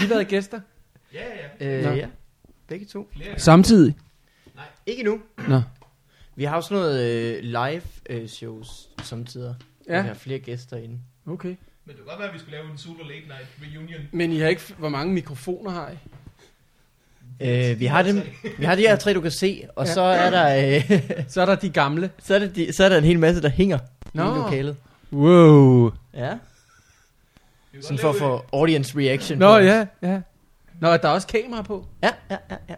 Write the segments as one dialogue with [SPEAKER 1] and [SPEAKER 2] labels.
[SPEAKER 1] de været gæster?
[SPEAKER 2] Ja, ja, ja.
[SPEAKER 3] Øh,
[SPEAKER 1] Nå.
[SPEAKER 3] ja. Begge to.
[SPEAKER 2] Flere gange.
[SPEAKER 1] Samtidig?
[SPEAKER 3] Ikke nu.
[SPEAKER 1] Nå.
[SPEAKER 3] Vi har jo sådan noget øh, live øh, shows samtidig. Ja. Vi har
[SPEAKER 1] Ja,
[SPEAKER 3] flere gæster inde.
[SPEAKER 1] okay.
[SPEAKER 2] Men det kunne godt være, at vi skulle lave en super late night reunion.
[SPEAKER 1] Men I har ikke... Hvor mange mikrofoner har I?
[SPEAKER 3] Øh, vi, har dem, vi har de her tre, du kan se, og ja. så er der... Øh,
[SPEAKER 1] Så er der de gamle.
[SPEAKER 3] så, er det de, så er der en hel masse, der hænger Nå. i
[SPEAKER 1] Nå.
[SPEAKER 3] lokalet.
[SPEAKER 1] Wow.
[SPEAKER 2] Vi
[SPEAKER 3] Ja,
[SPEAKER 2] kunne
[SPEAKER 3] sådan
[SPEAKER 2] godt
[SPEAKER 3] for at
[SPEAKER 2] lave
[SPEAKER 3] få audience reaction.
[SPEAKER 1] Nå,
[SPEAKER 3] på det.
[SPEAKER 1] ja, ja. Nå, der er også kamera på.
[SPEAKER 3] Ja, ja, ja, ja.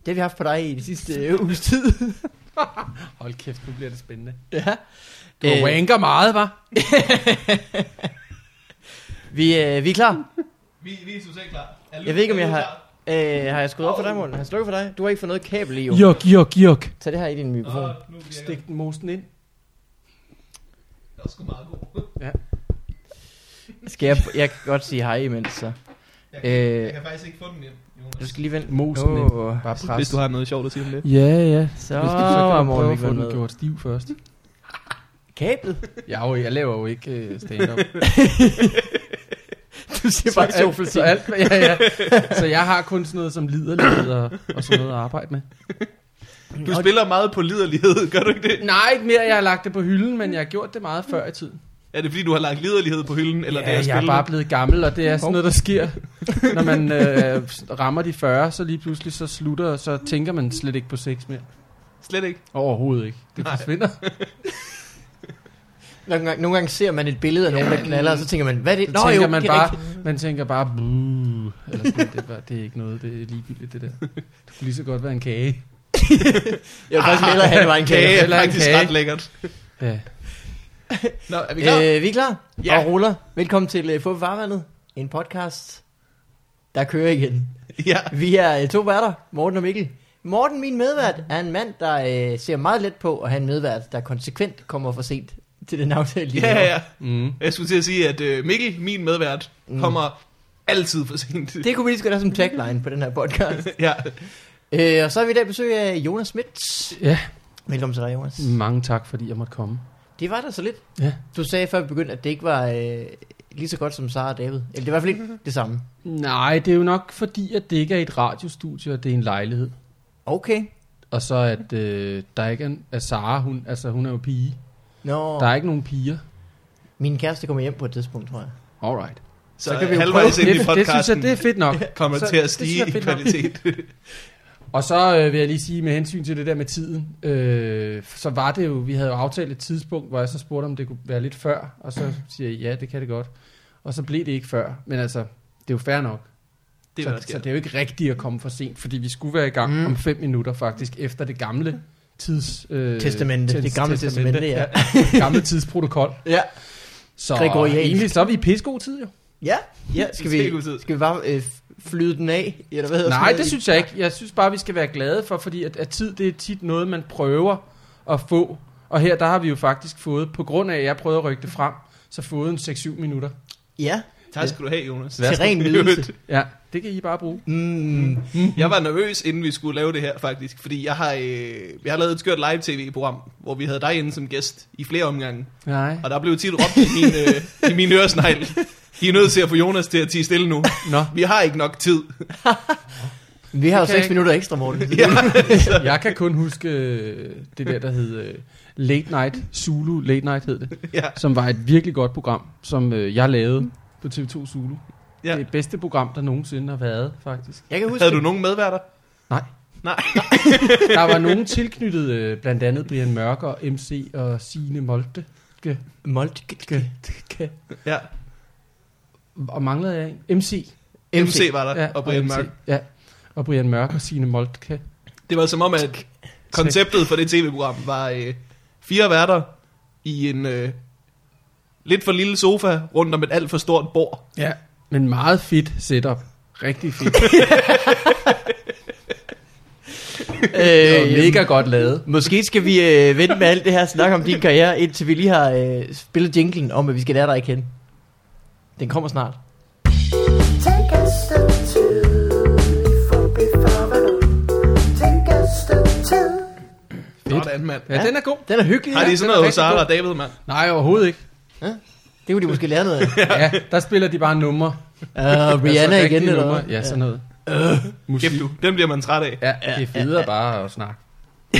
[SPEAKER 3] Det har vi haft på dig i de sidste øh, uges tid.
[SPEAKER 1] Hold kæft, nu bliver det spændende.
[SPEAKER 3] ja.
[SPEAKER 1] Du øh. wanker meget, var.
[SPEAKER 3] vi, øh, vi er klar.
[SPEAKER 2] Vi, vi er totalt klar. Er
[SPEAKER 3] Jeg ved ikke, om
[SPEAKER 2] er
[SPEAKER 3] jeg
[SPEAKER 2] du
[SPEAKER 3] har...
[SPEAKER 2] klar?
[SPEAKER 3] Øh, har jeg skruet op for dig, Morten? Har jeg slukket for dig? Du har ikke fået noget kabel i, jo.
[SPEAKER 1] Juk, juk, juk.
[SPEAKER 3] Tag det her i din mikrofon.
[SPEAKER 2] Åh, nu virker
[SPEAKER 1] Stik den mosen ind.
[SPEAKER 2] den. Det er sgu meget god.
[SPEAKER 3] Skal jeg, jeg kan godt sige hej imens, så.
[SPEAKER 2] Jeg, kan,
[SPEAKER 3] Øh,
[SPEAKER 2] jeg kan faktisk ikke få den hjem,
[SPEAKER 3] du
[SPEAKER 2] Jonas.
[SPEAKER 3] skal lige vente.
[SPEAKER 1] Mosen ind.
[SPEAKER 3] Åh,
[SPEAKER 1] Bare pres.
[SPEAKER 4] Hvis du har noget sjovt at sige om det.
[SPEAKER 1] Ja, ja.
[SPEAKER 3] Så
[SPEAKER 1] Hvis du så
[SPEAKER 3] var
[SPEAKER 1] kan du
[SPEAKER 3] Morten
[SPEAKER 1] prøve at
[SPEAKER 3] ikke
[SPEAKER 1] få den
[SPEAKER 3] med.
[SPEAKER 1] gjort stiv først.
[SPEAKER 3] Kablet?
[SPEAKER 1] Jeg, jo, jeg laver jo ikke øh, stand-up.
[SPEAKER 3] Du siger
[SPEAKER 1] så,
[SPEAKER 3] bare
[SPEAKER 1] alt,
[SPEAKER 3] sofaen.
[SPEAKER 1] så, alt, ja, ja. så jeg har kun sådan noget som liderlighed og, og sådan noget at arbejde med.
[SPEAKER 4] Du spiller meget på liderlighed, gør du ikke det?
[SPEAKER 1] Nej, ikke mere, jeg har lagt det på hylden, men jeg har gjort det meget før i tiden.
[SPEAKER 4] Er det fordi, du har lagt liderlighed på hylden, eller det
[SPEAKER 1] ja,
[SPEAKER 4] er
[SPEAKER 1] jeg er bare blevet gammel, og det er sådan
[SPEAKER 4] Hov.
[SPEAKER 1] noget, der sker. Når man øh, rammer de 40, så lige pludselig så slutter, og så tænker man slet ikke på sex mere.
[SPEAKER 4] Slet ikke.
[SPEAKER 1] Overhovedet ikke. Det forsvinder.
[SPEAKER 3] Nogle gange, nogle gange ser man et billede af nogen, der knaller, og så tænker man, hvad er det?
[SPEAKER 1] Så Nå, tænker
[SPEAKER 3] jo,
[SPEAKER 1] jo, man,
[SPEAKER 3] det er
[SPEAKER 1] bare,
[SPEAKER 3] rigtigt.
[SPEAKER 1] man tænker bare, "Buh," eller sådan, det, er bare, det er ikke noget, det er ligegyldigt det der. Det kunne lige så godt være en kage.
[SPEAKER 3] Jeg vil faktisk hellere have, det var en kage.
[SPEAKER 4] Kage
[SPEAKER 1] eller
[SPEAKER 4] er
[SPEAKER 1] en
[SPEAKER 4] faktisk
[SPEAKER 1] kage.
[SPEAKER 4] ret lækkert.
[SPEAKER 1] Ja.
[SPEAKER 4] Nå, er vi klar? Øh,
[SPEAKER 3] Øh, vi er klar
[SPEAKER 4] Ja.
[SPEAKER 3] og ruller. Velkommen til uh, Få Farvandet, en podcast, der kører igen.
[SPEAKER 4] ja.
[SPEAKER 3] Vi er uh, to værter, Morten og Mikkel. Morten, min medvært, er en mand, der uh, ser meget let på at have en medvært, der konsekvent kommer for sent til den aftale. de
[SPEAKER 4] ja,
[SPEAKER 3] laver.
[SPEAKER 4] ja, ja.
[SPEAKER 1] Mm.
[SPEAKER 4] Jeg skulle til at sige, at øh, Mikkel, min medvært,
[SPEAKER 3] Mm.
[SPEAKER 4] kommer altid for sent.
[SPEAKER 3] Det kunne vi lige så godt have som tagline på den her podcast.
[SPEAKER 4] ja.
[SPEAKER 3] øh, og så har vi i dag besøg af Jonas Schmidt.
[SPEAKER 1] Ja,
[SPEAKER 3] Velkommen til dig, Jonas.
[SPEAKER 1] mange tak, fordi jeg måtte komme.
[SPEAKER 3] Det var der så lidt.
[SPEAKER 1] Ja.
[SPEAKER 3] Du sagde før vi begyndte, at det ikke var øh, lige så godt som Sara og David. Eller det er i hvert fald ikke det samme.
[SPEAKER 1] Nej, det er jo nok fordi, at det ikke er et radiostudie, og det er en lejlighed.
[SPEAKER 3] Okay.
[SPEAKER 1] Og så at øh, der ikke er, en- at Sara, hun, altså hun er jo pige.
[SPEAKER 3] Nå,
[SPEAKER 1] Der er ikke nogen piger.
[SPEAKER 3] min kæreste kommer hjem på et tidspunkt, tror jeg.
[SPEAKER 1] Alright.
[SPEAKER 4] Så,
[SPEAKER 3] Så kan
[SPEAKER 4] kan
[SPEAKER 3] vi
[SPEAKER 4] vi
[SPEAKER 3] jo
[SPEAKER 4] halvvejs
[SPEAKER 3] prøve.
[SPEAKER 4] ind i
[SPEAKER 1] Det, det synes jeg,
[SPEAKER 4] podcasten
[SPEAKER 1] det er fedt nok.
[SPEAKER 4] kommer
[SPEAKER 1] Så-
[SPEAKER 4] til at
[SPEAKER 1] det synes
[SPEAKER 4] stige
[SPEAKER 1] jeg er
[SPEAKER 4] i
[SPEAKER 1] fedt nok.
[SPEAKER 4] kvalitet.
[SPEAKER 1] Og så øh, vil jeg lige sige med hensyn til det der med tiden, øh, så var det jo, vi havde jo aftalt et tidspunkt, hvor jeg så spurgte, om det kunne være lidt før, og så siger jeg, ja, det kan det godt. Og så blev det ikke før, men altså, det er jo fair nok.
[SPEAKER 4] det er,
[SPEAKER 1] så,
[SPEAKER 4] hvad der
[SPEAKER 1] så
[SPEAKER 4] sker.
[SPEAKER 1] det er jo ikke rigtigt at komme for sent, fordi vi skulle være i gang
[SPEAKER 3] Mm.
[SPEAKER 1] mm. om fem minutter faktisk, efter det gamle tids... Øh,
[SPEAKER 3] Testamente.
[SPEAKER 1] tes-
[SPEAKER 3] Det gamle testamente, ja.
[SPEAKER 1] gamle tidsprotokol.
[SPEAKER 3] Ja.
[SPEAKER 1] Så
[SPEAKER 3] Gregoriansk.
[SPEAKER 1] egentlig så er vi i pissegod tid, jo.
[SPEAKER 3] Ja, ja. Skal,
[SPEAKER 4] Det er
[SPEAKER 3] vi,
[SPEAKER 4] god tid.
[SPEAKER 3] skal vi bare øh, flyde den af? Eller hvad hedder sådan
[SPEAKER 1] Nej,
[SPEAKER 3] noget?
[SPEAKER 1] det synes jeg ikke. Jeg synes bare, vi skal være glade for, fordi at, at tid, det er tit noget, man prøver at få. Og her, der har vi jo faktisk fået, på grund af, at jeg prøvede at rykke det frem, så fået en 6-7 minutter.
[SPEAKER 3] Ja,
[SPEAKER 4] Tak skal du have, Jonas.
[SPEAKER 3] til ren nydelse.
[SPEAKER 1] Ja, det kan I bare bruge.
[SPEAKER 3] Mm.
[SPEAKER 4] Jeg var nervøs, inden vi skulle lave det her, faktisk. Fordi jeg har, øh, jeg har lavet et skørt live-tv-program, hvor vi havde dig inde som gæst i flere omgange.
[SPEAKER 1] Nej.
[SPEAKER 4] Og der blev tit råbt i min, øh, i min øresnegl. I er nødt til at få Jonas til at tige stille nu.
[SPEAKER 1] Nå,
[SPEAKER 4] Vi har ikke nok tid.
[SPEAKER 3] Vi har jo
[SPEAKER 1] Det kan
[SPEAKER 3] seks
[SPEAKER 1] jeg
[SPEAKER 3] minutter ekstra, Morten.
[SPEAKER 4] Ja.
[SPEAKER 1] jeg kan kun huske øh, det der, der hed øh, Late Night, Zulu Late Night hed det,
[SPEAKER 4] Ja.
[SPEAKER 1] som var et virkelig godt program, som øh, jeg lavede på TV2 Zulu.
[SPEAKER 4] Ja.
[SPEAKER 1] Ja. Det bedste program, der nogensinde har været, faktisk.
[SPEAKER 3] Jeg kan huske,
[SPEAKER 4] Havde du nogen medværter?
[SPEAKER 1] Nej.
[SPEAKER 4] Nej.
[SPEAKER 1] Der var nogen tilknyttet, øh, blandt andet Brian Mørker, MC og Signe Molte.
[SPEAKER 3] Moltke.
[SPEAKER 4] Ja.
[SPEAKER 1] Og manglede jeg en? MC.
[SPEAKER 4] MC var der, ja, og Brian
[SPEAKER 1] MC.
[SPEAKER 4] Mørk.
[SPEAKER 1] Ja, og Brian Mørk og Signe Moltke.
[SPEAKER 4] Det var som om, at konceptet for det tv-program var øh, fire værter i en øh, lidt for lille sofa rundt om et alt for stort bord.
[SPEAKER 1] Ja. Men meget fedt setup. Rigtig fedt.
[SPEAKER 3] Øh,
[SPEAKER 1] og mega godt lavet.
[SPEAKER 3] Måske skal vi øh, vente med alt det her snak om din karriere, indtil vi lige har øh, spillet jinglen om, at vi skal lære dig at kende. Den kommer snart.
[SPEAKER 5] Take a step two, for before Take a step two.
[SPEAKER 1] Fedt.
[SPEAKER 4] Sådan, mand.
[SPEAKER 1] Ja,
[SPEAKER 3] Ja.
[SPEAKER 1] den er god.
[SPEAKER 3] Den er hyggelig.
[SPEAKER 4] Har
[SPEAKER 3] Ja.
[SPEAKER 4] de
[SPEAKER 1] den
[SPEAKER 4] sådan
[SPEAKER 1] er
[SPEAKER 4] noget hos
[SPEAKER 1] rigtig
[SPEAKER 4] Sara
[SPEAKER 1] god.
[SPEAKER 4] og David, mand?
[SPEAKER 1] Nej, overhovedet ikke.
[SPEAKER 3] Det kunne de måske lære noget af.
[SPEAKER 1] ja, der spiller de bare numre.
[SPEAKER 3] Uh, Rihanna
[SPEAKER 1] altså,
[SPEAKER 3] igen,
[SPEAKER 1] rigtige
[SPEAKER 3] eller
[SPEAKER 1] numre.
[SPEAKER 3] hvad?
[SPEAKER 1] Ja, sådan noget.
[SPEAKER 4] Kæft du, den bliver man træt af.
[SPEAKER 1] Ja, det er federe bare at snakke.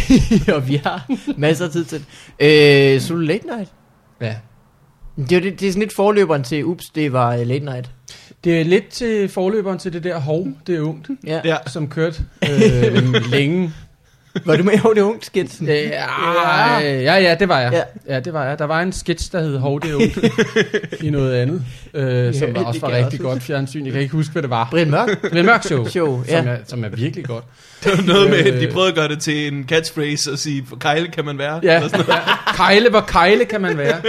[SPEAKER 3] og vi har masser af tid til det. øh, Zulu Late Night.
[SPEAKER 1] Ja.
[SPEAKER 3] Det, er jo det, det er sådan lidt forløberen til, ups, det var øh, Late Night.
[SPEAKER 1] Det er lidt til forløberen til det der hov, det er ungt,
[SPEAKER 3] Ja.
[SPEAKER 4] Ja.
[SPEAKER 1] som kørte øh, længe.
[SPEAKER 3] Var du med over det ungt skit?
[SPEAKER 1] Øh, ja, ja, ja, det var jeg.
[SPEAKER 3] Ja.
[SPEAKER 1] Ja. ja, det var jeg. Der var en sketch, der hed Hov, det er ungt, i noget andet, øh, som
[SPEAKER 3] Ja,
[SPEAKER 1] var,
[SPEAKER 3] det
[SPEAKER 1] også var
[SPEAKER 3] kan jeg
[SPEAKER 1] rigtig
[SPEAKER 3] også
[SPEAKER 1] godt fjernsyn. Jeg kan ikke huske, hvad det var.
[SPEAKER 3] Brian Mørk?
[SPEAKER 1] Men Mørk Show,
[SPEAKER 3] Show, ja.
[SPEAKER 1] som, er, som er virkelig godt.
[SPEAKER 4] Det var noget med, at
[SPEAKER 1] Øh.
[SPEAKER 4] de prøvede at gøre det til en catchphrase og sige, for Kejle kan man være.
[SPEAKER 1] Ja,
[SPEAKER 4] Eller sådan
[SPEAKER 1] ja. Kejle, hvor kejle kan man være.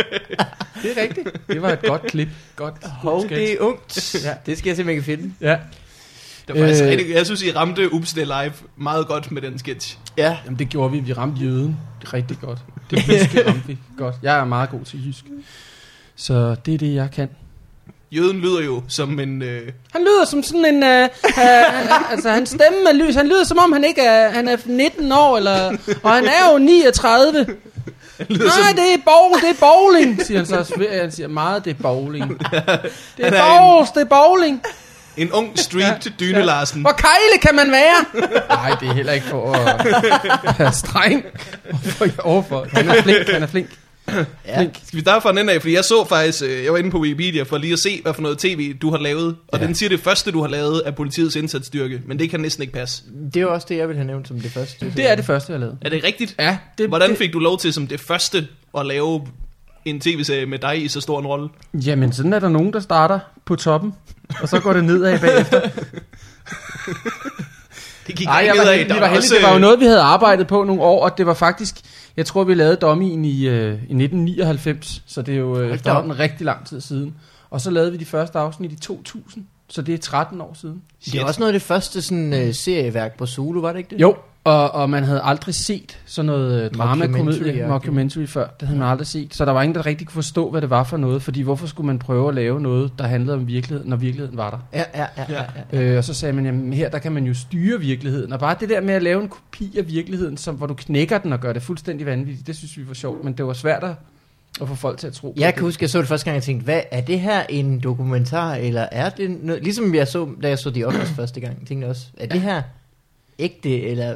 [SPEAKER 1] Det er rigtigt. Det var et godt klip. Godt
[SPEAKER 3] Hov,
[SPEAKER 1] sketch.
[SPEAKER 3] det er ungt.
[SPEAKER 1] Ja.
[SPEAKER 3] Det skal jeg simpelthen ikke finde.
[SPEAKER 1] Ja.
[SPEAKER 4] noget. Det var faktisk
[SPEAKER 1] Øh.
[SPEAKER 4] rigtig, jeg synes, I ramte Oops, det er live meget godt med den sketch.
[SPEAKER 3] Ja.
[SPEAKER 1] Jamen det gjorde vi, vi ramte jøden rigtig godt. Det jyske ramte vi godt. Jeg er meget god til jysk. Så det er det, jeg kan.
[SPEAKER 4] Jøden lyder jo som en... Øh,
[SPEAKER 1] Han lyder som sådan en, øh, øh, altså hans stemme er lys, han lyder som om han ikke er, han er 19 år, eller, og han er jo 39. Nej, det er bowl, det er bowling, siger han så. også. Han siger meget, det er bowling. Det er
[SPEAKER 4] Han er en-
[SPEAKER 1] bowls, det er bowling.
[SPEAKER 4] en ung street ja, dyne ja. Larsen.
[SPEAKER 1] Hvor kejle kan man være? Nej, det er heller ikke for at være streng overfor- overfor. Han er flink, han er flink.
[SPEAKER 3] ja.
[SPEAKER 4] Skal vi starte fra den ende af? Fordi jeg så faktisk, øh, jeg var inde på Wikipedia for lige at se, hvad for noget tv du har lavet. Og
[SPEAKER 1] Ja.
[SPEAKER 4] den siger, det første du har lavet er politiets indsatsstyrke. Men det kan næsten ikke passe.
[SPEAKER 3] Det er jo også det, jeg ville have nævnt som det første.
[SPEAKER 1] Det er det første, jeg lavede.
[SPEAKER 4] Er det rigtigt?
[SPEAKER 1] Ja, det,
[SPEAKER 4] Hvordan
[SPEAKER 1] det,
[SPEAKER 4] fik du lov til som det første at lave en tv-serie med dig i så stor en rolle?
[SPEAKER 1] Jamen, sådan er der nogen, der starter på toppen, og så går det nedad bagefter.
[SPEAKER 4] Det gik
[SPEAKER 1] Nej,
[SPEAKER 4] ikke
[SPEAKER 1] jeg var,
[SPEAKER 4] nedad.
[SPEAKER 1] heldig,
[SPEAKER 4] Der
[SPEAKER 1] vi var
[SPEAKER 4] var
[SPEAKER 1] heldig.
[SPEAKER 4] også,
[SPEAKER 1] Det var jo
[SPEAKER 4] øh,
[SPEAKER 1] noget, vi havde arbejdet på nogle år, og det var faktisk... Jeg tror, vi lavede Dommien i, øh, i 1999, så det er jo øh,
[SPEAKER 3] op.
[SPEAKER 1] efterhånden rigtig lang tid siden. Og så lavede vi de første afsnit i 2000, så det er 13 år siden.
[SPEAKER 3] Det er også noget af det første sådan, uh, serieværk på Zulu, var det ikke det?
[SPEAKER 1] Jo, og, og man havde aldrig set sådan noget øh, drama, komedie,
[SPEAKER 3] Mockumentary-agtigt.
[SPEAKER 1] mockumentary før. Det havde man aldrig set. Så der var ingen, der rigtig kunne forstå, hvad det var for noget. Fordi hvorfor skulle man prøve at lave noget, der handlede om virkeligheden, når virkeligheden var der?
[SPEAKER 3] Ja, ja, ja. ja. ja.
[SPEAKER 1] Øh, og så sagde man, jamen her der kan man jo styre virkeligheden. Og bare det der med at lave en kopi af virkeligheden, som, hvor du knækker den og gør det fuldstændig vanvittigt, det synes vi var sjovt. Men det var svært at, at få folk til at tro på
[SPEAKER 3] Jeg kan
[SPEAKER 1] det.
[SPEAKER 3] huske, jeg så det første gang, jeg tænkte, hvad er det her en dokumentar, eller er det noget? Ligesom jeg så, da jeg så The Office første gang, tænkte jeg også, er det her ægte, eller...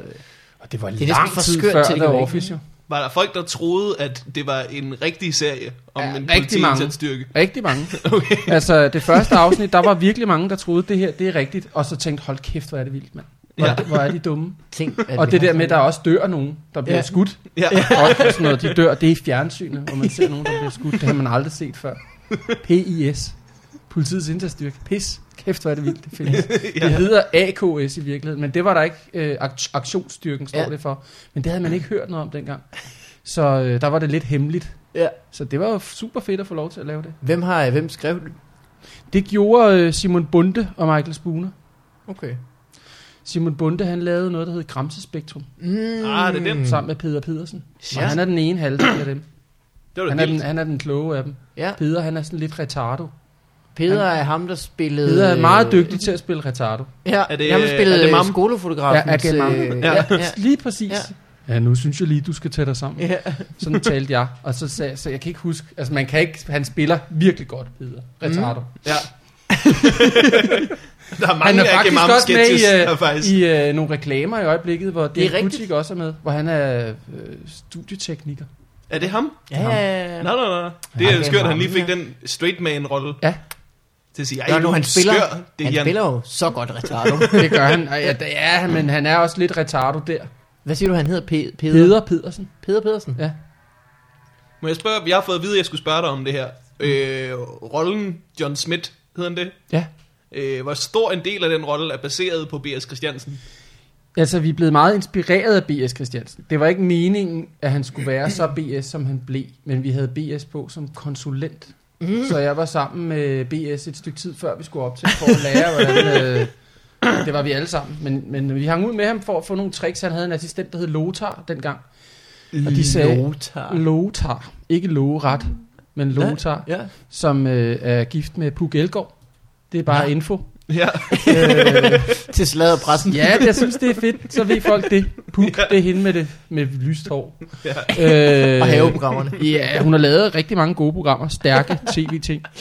[SPEAKER 1] Og det var
[SPEAKER 3] Det
[SPEAKER 1] det
[SPEAKER 3] er næsten
[SPEAKER 1] lang
[SPEAKER 3] for
[SPEAKER 1] tid
[SPEAKER 3] skørt
[SPEAKER 1] før
[SPEAKER 3] til, det
[SPEAKER 1] The
[SPEAKER 3] kan være
[SPEAKER 1] Office jo.
[SPEAKER 4] Var der folk, der troede, at det var en rigtig serie om
[SPEAKER 1] Ja,
[SPEAKER 4] ja, en
[SPEAKER 1] rigtig mange.
[SPEAKER 4] politiindsatsstyrke?
[SPEAKER 1] Rigtig mange. okay. Altså det første afsnit, der var virkelig mange, der troede, det her det er rigtigt. Og så tænkte, hold kæft, hvor er det vildt, mand. Hvor,
[SPEAKER 4] Ja.
[SPEAKER 1] ja. hvor er de dumme.
[SPEAKER 3] Tænk, at
[SPEAKER 1] Og
[SPEAKER 3] vi
[SPEAKER 1] det
[SPEAKER 3] har
[SPEAKER 1] der med, at
[SPEAKER 3] sådan-
[SPEAKER 1] der også dør nogen, der bliver
[SPEAKER 3] Ja.
[SPEAKER 1] ja. skudt.
[SPEAKER 4] Ja.
[SPEAKER 1] Og sådan noget, de dør, det er i fjernsynet, hvor man ser nogen, der bliver skudt. Det har man aldrig set før. PIS. Politiets indsatsstyrke. Pis. Kæft, hvor er det vildt, det findes. Det hedder AKS i virkeligheden, men det var der ikke. Øh, akt- aktionsstyrken står
[SPEAKER 3] Ja.
[SPEAKER 1] ja. det for. Men det havde man ikke hørt noget om dengang. Så øh, der var det lidt hemmeligt.
[SPEAKER 3] Ja.
[SPEAKER 1] Så det var jo super fedt at få lov til at lave det.
[SPEAKER 3] Hvem har, hvem skrev det?
[SPEAKER 1] Det gjorde øh, Simon Bunde og Michael Spooner.
[SPEAKER 3] Okay.
[SPEAKER 1] Simon Bunde, han lavede noget, der hed Gramsespektrum,
[SPEAKER 3] Mm.
[SPEAKER 4] Ah, det er den.
[SPEAKER 1] mm. sammen med Peder Pedersen. Og
[SPEAKER 3] Ja.
[SPEAKER 1] han er den ene halvdel af dem.
[SPEAKER 4] Det var
[SPEAKER 1] Han
[SPEAKER 4] da
[SPEAKER 1] er,
[SPEAKER 4] vildt.
[SPEAKER 1] den, han er den kloge af dem.
[SPEAKER 3] Ja,
[SPEAKER 1] Peder, han er sådan lidt retardo.
[SPEAKER 3] Peder er ham, der spillede...
[SPEAKER 1] Peder er meget
[SPEAKER 3] øh,
[SPEAKER 1] dygtig til at spille retardo.
[SPEAKER 3] Ja,
[SPEAKER 4] Er det-
[SPEAKER 3] ham, der spillede
[SPEAKER 4] er det
[SPEAKER 3] øh,
[SPEAKER 4] Mam?
[SPEAKER 3] skolefotografen. Øh,
[SPEAKER 1] Ja, er det Mam?
[SPEAKER 3] ja,
[SPEAKER 4] Ja.
[SPEAKER 3] ja.
[SPEAKER 1] Lige præcis. Ja. ja, nu synes jeg lige, du skal tage dig sammen.
[SPEAKER 3] ja.
[SPEAKER 1] Sådan talte jeg. Og så sagde jeg- så jeg kan ikke huske, altså man kan ikke, han spiller virkelig godt, Peder. Retardo. Mm.
[SPEAKER 4] Ja. der er
[SPEAKER 1] Han
[SPEAKER 4] mange
[SPEAKER 1] er
[SPEAKER 4] af
[SPEAKER 1] faktisk
[SPEAKER 4] Gemam
[SPEAKER 1] også med
[SPEAKER 4] sketches,
[SPEAKER 1] i,
[SPEAKER 4] der faktisk.
[SPEAKER 1] øh, i øh, nogle reklamer i øjeblikket, hvor
[SPEAKER 3] Det er
[SPEAKER 1] det er
[SPEAKER 3] rigtigt.
[SPEAKER 1] Butik også er med, hvor han er øh, studietekniker.
[SPEAKER 4] Er det ham?
[SPEAKER 3] Ja, ja, ja.
[SPEAKER 4] Nej, nej, nej. Det
[SPEAKER 3] det
[SPEAKER 4] er
[SPEAKER 3] er
[SPEAKER 4] jo skørt, at han
[SPEAKER 3] ham,
[SPEAKER 4] lige fik
[SPEAKER 3] ja.
[SPEAKER 4] den straight man-rolle.
[SPEAKER 1] Ja.
[SPEAKER 4] Til at sige,
[SPEAKER 3] Nå,
[SPEAKER 4] ej,
[SPEAKER 3] nu
[SPEAKER 4] du
[SPEAKER 3] han
[SPEAKER 4] han
[SPEAKER 3] spiller,
[SPEAKER 4] skør. Det
[SPEAKER 3] han
[SPEAKER 4] er Jan.
[SPEAKER 3] spiller jo så godt retardo.
[SPEAKER 1] Det gør han. Og Ja, det er, han, men han er også lidt retardo der.
[SPEAKER 3] Hvad siger du, han hedder? Pe- Peder?
[SPEAKER 1] Peder Pedersen.
[SPEAKER 3] Peder Pedersen?
[SPEAKER 1] Ja.
[SPEAKER 4] Må jeg spørge, jeg har fået at vide, at jeg skulle spørge dig om det her. Øh, rollen John Smith, hedder han det?
[SPEAKER 1] Ja.
[SPEAKER 4] Øh, hvor stor en del af den rolle er baseret på B.S. Christiansen?
[SPEAKER 1] Altså, vi er blevet meget inspireret af B.S. Christiansen. Det var ikke meningen, at han skulle være så B.S., som han blev, men vi havde B.S. på som konsulent. Mm. Så jeg var sammen med B.S. et stykke tid før, vi skulle op til for at lære, hvordan... Øh, det var vi alle sammen. Men, men vi hang ud med ham for at få nogle tricks. Han havde en assistent, der hed Lothar dengang. Og de sagde,
[SPEAKER 3] Lothar.
[SPEAKER 1] Lothar. Ikke Loret, men Lothar,
[SPEAKER 3] Ja.
[SPEAKER 1] som øh, er gift med Puk Elgård. Det er bare info.
[SPEAKER 4] Ja.
[SPEAKER 1] Øh,
[SPEAKER 3] til sladderpressen.
[SPEAKER 1] Ja, jeg synes, det er fedt. Så ved folk det. Puk, det er hende med, det, med lyst hår. Ja. Øh,
[SPEAKER 3] Og haveprogrammerne.
[SPEAKER 1] Ja, hun har lavet rigtig mange gode programmer. Stærke tv-ting. Øh,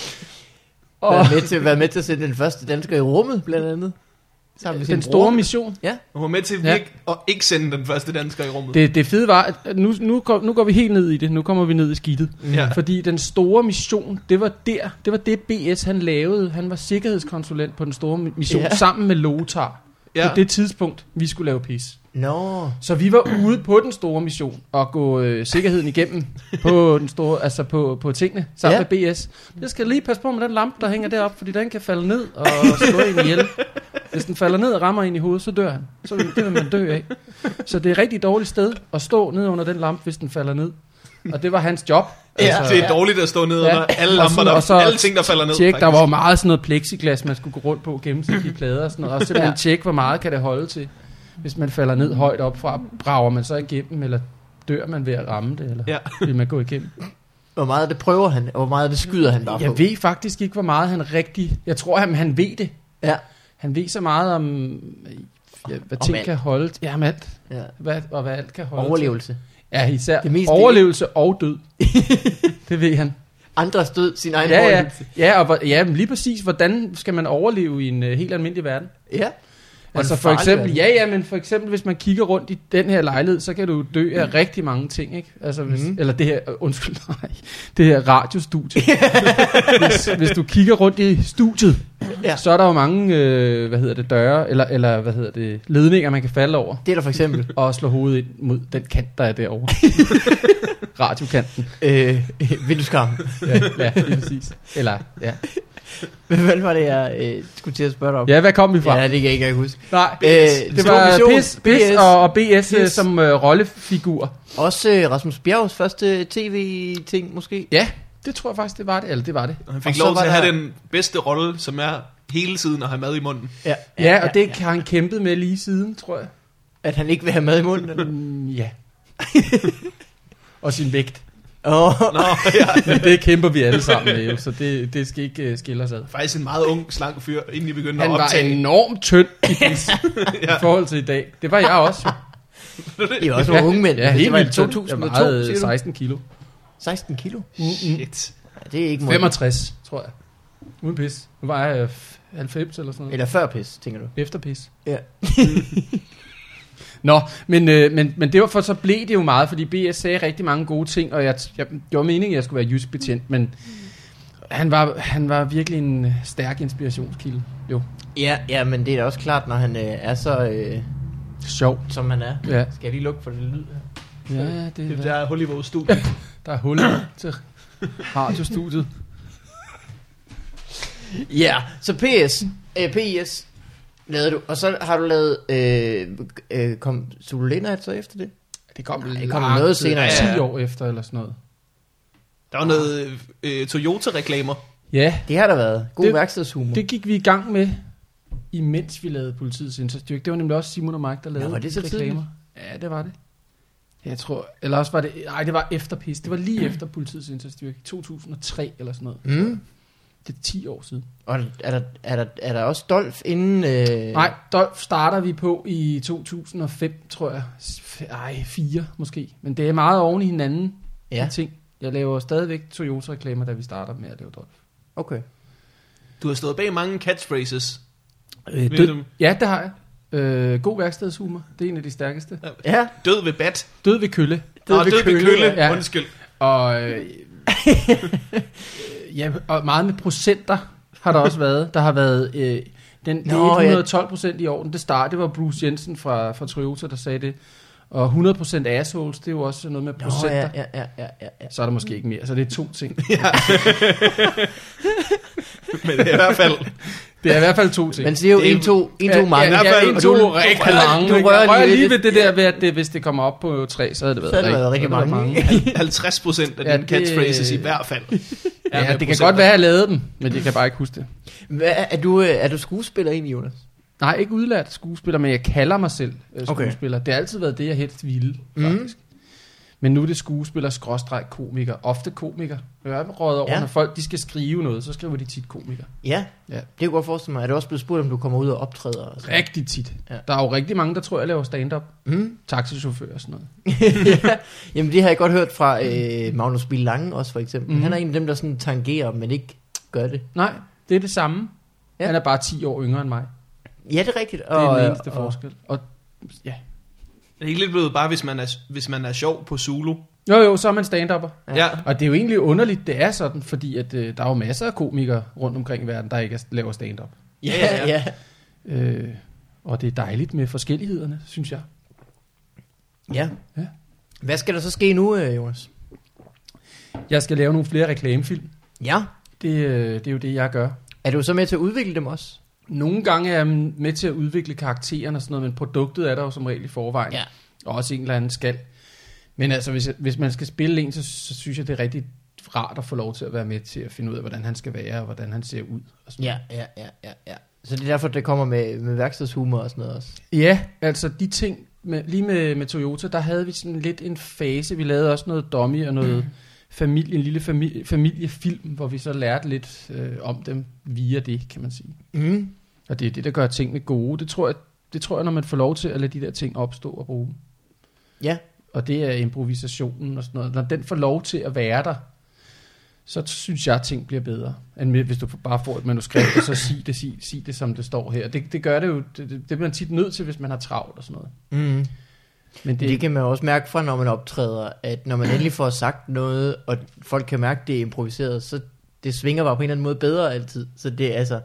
[SPEAKER 3] Og
[SPEAKER 1] Og
[SPEAKER 3] været med til, været med til at sende den første dansker i rummet, blandt andet. Sammen med sin
[SPEAKER 1] den store
[SPEAKER 3] bror.
[SPEAKER 1] mission.
[SPEAKER 4] Hun var med til
[SPEAKER 1] Ja.
[SPEAKER 4] ikke at ikke sende den første dansker i rummet.
[SPEAKER 1] Det, det fede var, at nu, nu, går, nu går vi helt ned i det. Nu kommer vi ned i skidtet.
[SPEAKER 4] Ja.
[SPEAKER 1] Fordi den store mission, det var der. Det var det, BS han lavede. Han var sikkerhedskonsulent på den store mission
[SPEAKER 3] Ja.
[SPEAKER 1] ja. sammen med Lothar. Ja.
[SPEAKER 4] Ja.
[SPEAKER 1] På det tidspunkt, vi skulle lave pis.
[SPEAKER 3] Nå.
[SPEAKER 1] Så vi var ude på den store mission og gå øh, sikkerheden igennem på, den store, altså på, på tingene sammen ja. med BS. Jeg skal lige passe på med den lampe, der hænger deroppe, fordi den kan falde ned og slå en ihjel. Hvis den falder ned og rammer en i hovedet, så dør han. Så vil, det vil man dø af. Så det er et rigtig dårligt sted at stå ned under den lampe, hvis den falder ned. Og det var hans job. Altså,
[SPEAKER 4] Ja. Altså, Det er dårligt at stå ned
[SPEAKER 1] Ja.
[SPEAKER 4] under alle
[SPEAKER 1] Og
[SPEAKER 4] lamper,
[SPEAKER 1] sådan-
[SPEAKER 4] der,
[SPEAKER 1] og så
[SPEAKER 4] alle ting, der falder ned.
[SPEAKER 1] Tjek, der
[SPEAKER 4] faktisk.
[SPEAKER 1] var jo meget sådan noget plexiglas, man skulle gå rundt på og gemme sig i de plader og sådan noget. Og simpelthen tjekke, hvor meget kan det holde til. Hvis man falder ned højt op fra, brager man så igennem, eller dør man ved at ramme det, eller
[SPEAKER 4] Ja.
[SPEAKER 1] vil man gå igennem?
[SPEAKER 3] Hvor meget af det prøver han, og hvor meget af det skyder han bare på.
[SPEAKER 1] Jeg ved faktisk ikke, hvor meget han rigtig... Jeg tror, han, han ved det.
[SPEAKER 3] Ja.
[SPEAKER 1] Han ved så meget om, ja, hvad
[SPEAKER 3] Om
[SPEAKER 1] ting
[SPEAKER 3] alt.
[SPEAKER 1] kan holde til. Ja, om alt.
[SPEAKER 3] Ja.
[SPEAKER 1] Hvad, og hvad alt kan holde
[SPEAKER 3] Overlevelse.
[SPEAKER 1] til. Ja, især
[SPEAKER 3] Det meste-
[SPEAKER 1] overlevelse og død. det ved han.
[SPEAKER 3] Andres død, sin egen
[SPEAKER 1] Ja, ja,
[SPEAKER 3] overlevelse.
[SPEAKER 1] ja, og hvor, ja, men lige præcis, hvordan skal man overleve i en uh, helt almindelig verden?
[SPEAKER 3] Ja. Og
[SPEAKER 1] Altså
[SPEAKER 3] en
[SPEAKER 1] for
[SPEAKER 3] farlig
[SPEAKER 1] eksempel,
[SPEAKER 3] verden.
[SPEAKER 1] ja, ja, men for eksempel, hvis man kigger rundt i den her lejlighed, så kan du dø af rigtig mange ting, ikke? Altså, hvis, mm. eller det her, øh, undskyld, nej, det her radiostudie. hvis, hvis du kigger rundt i studiet,
[SPEAKER 3] Ja.
[SPEAKER 1] ja. så er der jo mange, øh, hvad hedder det, døre, eller, eller hvad hedder det, ledninger, man kan falde over,
[SPEAKER 3] Det er der for eksempel.
[SPEAKER 1] og slå hovedet ind mod den kant, der er derovre. Radiokanten.
[SPEAKER 3] øh, vindueskarmen.
[SPEAKER 1] Ja, ja, lige præcis. Eller, ja.
[SPEAKER 3] Hvad fanden var det, jeg øh, skulle til at spørge dig om?
[SPEAKER 1] Ja, hvad kom vi fra?
[SPEAKER 3] ja det kan jeg ikke huske.
[SPEAKER 1] Nej,
[SPEAKER 3] Øh,
[SPEAKER 1] det
[SPEAKER 3] Stor
[SPEAKER 1] var
[SPEAKER 3] Mission,
[SPEAKER 1] PIS, PIS,
[SPEAKER 3] BS.
[SPEAKER 1] og, og BS,
[SPEAKER 3] PIS.
[SPEAKER 1] BS. som øh, rollefigur.
[SPEAKER 3] Også øh, Rasmus Bjergs første tv-ting, måske?
[SPEAKER 1] Ja, det tror jeg faktisk, det var det. Eller det var det.
[SPEAKER 4] Og Han fik
[SPEAKER 3] Og så
[SPEAKER 4] lov
[SPEAKER 3] var
[SPEAKER 4] til at have
[SPEAKER 3] der-
[SPEAKER 4] den bedste rolle, som er hele tiden at have mad i munden.
[SPEAKER 3] Ja,
[SPEAKER 1] Ja, ja og det ja. har han kæmpet med lige siden, tror jeg.
[SPEAKER 3] At han ikke vil have mad i munden. eller?
[SPEAKER 1] Mm, ja. og sin vægt.
[SPEAKER 3] Åh, oh,
[SPEAKER 4] Nå, ja.
[SPEAKER 1] Men det kæmper vi alle sammen med, jo, så det, det skal ikke uh, skille os ad.
[SPEAKER 4] Faktisk en meget ung, slank fyr, inden I begyndte
[SPEAKER 1] Han
[SPEAKER 4] at
[SPEAKER 1] var
[SPEAKER 4] optage.
[SPEAKER 1] enormt tynd i, pis,
[SPEAKER 4] Ja.
[SPEAKER 1] i forhold til i dag. Det var jeg også.
[SPEAKER 3] I er også nogle unge mænd. Altså,
[SPEAKER 1] Ja,
[SPEAKER 3] det
[SPEAKER 1] helt
[SPEAKER 3] var i
[SPEAKER 1] vildt. tynd.
[SPEAKER 3] 2002,
[SPEAKER 1] Jeg vejede
[SPEAKER 3] siger du?
[SPEAKER 1] 16 øh, kilo.
[SPEAKER 3] 16 kilo?
[SPEAKER 4] Shit.
[SPEAKER 3] Ja, det er ikke meget.
[SPEAKER 1] 65, tror jeg. Uden pis. Nu var jeg øh, f- 90 eller sådan noget.
[SPEAKER 3] Eller før pis, tænker du?
[SPEAKER 1] Efter pis.
[SPEAKER 3] Ja.
[SPEAKER 1] Nå, men, øh, men, men det var for, så blev det jo meget, fordi BS sagde rigtig mange gode ting, og jeg, jeg, det var meningen, at jeg skulle være jysk betjent, men han var, han var virkelig en øh, stærk inspirationskilde. Jo,
[SPEAKER 3] Ja, ja, men det er da også klart, når han øh, er så, øh,
[SPEAKER 1] sjov.
[SPEAKER 3] som han er.
[SPEAKER 1] Ja,
[SPEAKER 3] Skal jeg lige lukke for det lyd her?
[SPEAKER 1] ja det,
[SPEAKER 4] Det
[SPEAKER 1] det
[SPEAKER 4] der
[SPEAKER 1] der.
[SPEAKER 4] er hul i vores studie.
[SPEAKER 1] der er hul til radiostudiet.
[SPEAKER 3] Ja, så PS, øh, PIS lavede du, og så har du lavet, øh, øh, kom Sololena altså efter det?
[SPEAKER 1] Det kom,
[SPEAKER 3] det kom noget senere, ja.
[SPEAKER 1] 10 år efter eller sådan noget.
[SPEAKER 4] Der var noget øh, Toyota-reklamer.
[SPEAKER 1] Ja,
[SPEAKER 3] Det har der været. God det,
[SPEAKER 1] Det-
[SPEAKER 3] værkstedshumor. Det,
[SPEAKER 1] det gik vi i gang med, imens vi lavede politiets indsatsstyrke. Det var nemlig også Simon og Mike, der lavede
[SPEAKER 3] var det så
[SPEAKER 1] Ja, det var det. Jeg tror, eller også var det, nej, det var efter PIS. Det var lige efter politiets indsatsstyrke, 2003 eller sådan noget.
[SPEAKER 3] mm.
[SPEAKER 1] Det er 10 år siden.
[SPEAKER 3] Og er der, er, der, er der også Dolf inden... Øh,
[SPEAKER 1] Nej, der starter vi på i 2005, tror jeg. Ej, 4 måske. Men det er meget oven i hinanden,
[SPEAKER 3] Ja,
[SPEAKER 1] de ting. Jeg laver stadigvæk Toyota-reklamer, da vi starter med at lave Dolph.
[SPEAKER 3] okay.
[SPEAKER 4] Du har stået bag mange catchphrases.
[SPEAKER 1] Øh,
[SPEAKER 4] Ved du-
[SPEAKER 1] død, ja, det har jeg. Øh, god værkstedshumor, det er en af de stærkeste.
[SPEAKER 3] Ja,
[SPEAKER 4] Død ved bat.
[SPEAKER 1] Død ved kølle.
[SPEAKER 4] Død, ved, død kølle. ved kølle.
[SPEAKER 1] ja.
[SPEAKER 4] Undskyld.
[SPEAKER 1] Og, øh, øh, ja, og meget med procenter har der også været. Der har været øh, den det er
[SPEAKER 3] Nå, ja.
[SPEAKER 1] 112 procent i orden. Det start, det var Bruce Jensen fra, fra Toyota, der sagde det. Og 100 procent assholes, det er jo også noget med
[SPEAKER 3] Nå,
[SPEAKER 1] procenter.
[SPEAKER 3] ja, ja, ja, ja, ja, ja.
[SPEAKER 1] Så er der måske ikke mere. Så det er to ting.
[SPEAKER 4] Men det er i hvert fald...
[SPEAKER 1] Det er i hvert fald to ting.
[SPEAKER 3] Man siger jo
[SPEAKER 4] Det er-
[SPEAKER 3] 1, 2, 1, 2 mange.
[SPEAKER 1] Ja,
[SPEAKER 4] hvert
[SPEAKER 1] ja,
[SPEAKER 4] fald
[SPEAKER 1] en,
[SPEAKER 4] to
[SPEAKER 1] to
[SPEAKER 4] rigtig
[SPEAKER 1] rigtig
[SPEAKER 3] mange.
[SPEAKER 1] mange.
[SPEAKER 3] Du
[SPEAKER 1] Du
[SPEAKER 3] rører
[SPEAKER 1] rører, rører
[SPEAKER 3] lige
[SPEAKER 1] lige
[SPEAKER 3] ved
[SPEAKER 1] ved det der ved, at det, hvis det kommer op på tre, så havde det været,
[SPEAKER 3] Så havde det været rigtig
[SPEAKER 1] så havde det
[SPEAKER 3] mange.
[SPEAKER 1] været
[SPEAKER 4] 50 procent af
[SPEAKER 1] Ja,
[SPEAKER 4] ja, dine
[SPEAKER 1] det-
[SPEAKER 4] catchphrases i hvert fald. er
[SPEAKER 1] Ja,
[SPEAKER 4] med
[SPEAKER 1] det kan
[SPEAKER 4] procenter.
[SPEAKER 1] godt være, at jeg lavede dem, men jeg kan bare ikke huske det.
[SPEAKER 3] Hvad, er- er, du, øh, er du skuespiller egentlig, Jonas?
[SPEAKER 1] Nej, ikke udlært skuespiller, men jeg kalder mig selv øh,
[SPEAKER 3] Okay.
[SPEAKER 1] skuespiller. Okay. Det har altid været det, jeg helst ville,
[SPEAKER 3] Mm.
[SPEAKER 1] faktisk. Mm. Men nu er det skuespiller, skråstreg, komiker. Ofte komiker. Jeg er røget over,
[SPEAKER 3] Ja.
[SPEAKER 1] ja. når folk de skal skrive noget, så skriver de tit komiker.
[SPEAKER 3] Ja, ja,
[SPEAKER 1] Ja.
[SPEAKER 3] det kan jeg godt forestille mig. Er du også blevet spurgt, om du kommer ud og optræder? Og sådan?
[SPEAKER 1] Rigtig tit.
[SPEAKER 3] Ja.
[SPEAKER 1] Ja. Der er jo rigtig mange, der tror, jeg laver stand-up.
[SPEAKER 3] Mm.
[SPEAKER 1] Taxichauffør og sådan noget.
[SPEAKER 3] ja. Jamen det har jeg godt hørt fra øh, Magnus Bill Lange også for eksempel. Mm.
[SPEAKER 1] Mhm.
[SPEAKER 3] Han er en af dem, der sådan tangerer, men ikke gør det.
[SPEAKER 1] Nej, det er det samme.
[SPEAKER 3] Ja.
[SPEAKER 1] Ja. Han er bare 10 år yngre end mig.
[SPEAKER 3] Ja, det er rigtigt.
[SPEAKER 1] Det er
[SPEAKER 3] og,
[SPEAKER 1] og, den eneste
[SPEAKER 3] og,
[SPEAKER 1] og, forskel. Og,
[SPEAKER 4] Det er ikke lidt blevet bare, hvis man er, hvis man er sjov på Zulu.
[SPEAKER 1] jo jo, så er man stand-upper.
[SPEAKER 3] Ja.
[SPEAKER 4] Ja. ja.
[SPEAKER 1] Og det er jo egentlig underligt, det er sådan, fordi at, øh, der er jo masser af komikere rundt omkring i verden, der ikke er- laver stand-up.
[SPEAKER 3] Ja,
[SPEAKER 4] Ja,
[SPEAKER 3] ja,
[SPEAKER 4] ja.
[SPEAKER 3] ja.
[SPEAKER 1] Øh, og det er dejligt med forskellighederne, synes jeg.
[SPEAKER 3] ja.
[SPEAKER 1] Ja.
[SPEAKER 3] Hvad skal der så ske nu, øh, Jonas?
[SPEAKER 1] Jeg skal lave nogle flere reklamefilm.
[SPEAKER 3] Ja.
[SPEAKER 1] Det, øh, det er jo det, jeg gør.
[SPEAKER 3] Er du så med til at udvikle dem også?
[SPEAKER 1] Nogle gange er jeg med til at udvikle karaktererne og sådan noget, men produktet er der jo som regel i forvejen.
[SPEAKER 3] Ja.
[SPEAKER 1] Og også en eller anden skal. Men altså, hvis, jeg, hvis man skal spille en, så, så synes jeg, det er rigtig rart at få lov til at være med til at finde ud af, hvordan han skal være, og hvordan han ser ud. Og sådan
[SPEAKER 3] Ja, ja, ja, ja, ja. Så det er derfor, det kommer med, med værkstedshumor og sådan noget også.
[SPEAKER 1] Ja, altså de ting, med, lige med, med Toyota, der havde vi sådan lidt en fase. Vi lavede også noget dummy og noget familie, en lille familie, familiefilm, hvor vi så lærte lidt øh, om dem via det, kan man sige.
[SPEAKER 3] Mm.
[SPEAKER 1] Og det er det, der gør tingene gode. Det tror jeg, det tror jeg når man får lov til at lade de der ting opstå og bruge. dem.
[SPEAKER 3] Ja.
[SPEAKER 1] Og det er improvisationen og sådan noget. Når den får lov til at være der, så t- synes jeg, at ting bliver bedre, end med, hvis du bare får et manuskript, og så sig det, sig, sig det, som det står her. Det, det gør det jo, det, det, det er man tit nødt til, hvis man har travlt og sådan noget.
[SPEAKER 3] Mm.
[SPEAKER 1] Men
[SPEAKER 3] Det... det kan man jo også mærke fra, når man optræder, at når man endelig får sagt noget, og folk kan mærke, det er improviseret, så det svinger bare på en eller anden måde bedre altid. Så det er altså...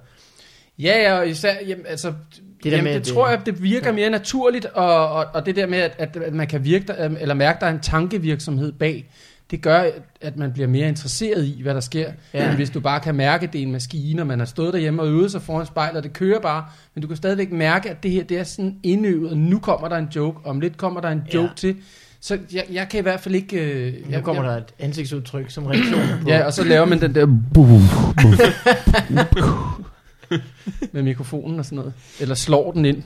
[SPEAKER 1] Ja, ja, og især, jamen, altså, det,
[SPEAKER 3] der
[SPEAKER 1] der jamen,
[SPEAKER 3] med,
[SPEAKER 1] med, det,
[SPEAKER 3] at det-
[SPEAKER 1] tror jeg, det virker ja. mere naturligt, og, og, og det der med, at, at, at man kan virke, der, eller mærke, der er en tankevirksomhed bag, det gør, at- at man bliver mere interesseret i, hvad der sker,
[SPEAKER 3] Ja.
[SPEAKER 1] ja. end hvis du bare kan mærke, at det er en maskine, og man har stået derhjemme og øvet sig foran spejlet, og det kører bare, men du kan stadigvæk mærke, at det her, det er sådan indøvet, og nu kommer der en joke, om lidt kommer der en
[SPEAKER 3] Ja.
[SPEAKER 1] joke til, så jeg, jeg kan i hvert fald ikke... Øh,
[SPEAKER 3] Nu
[SPEAKER 1] jeg,
[SPEAKER 3] kommer
[SPEAKER 1] jeg,
[SPEAKER 3] der et ansigtsudtryk som reaktion på...
[SPEAKER 1] Ja, og så laver man den der med mikrofonen og sådan noget. Eller slår den ind.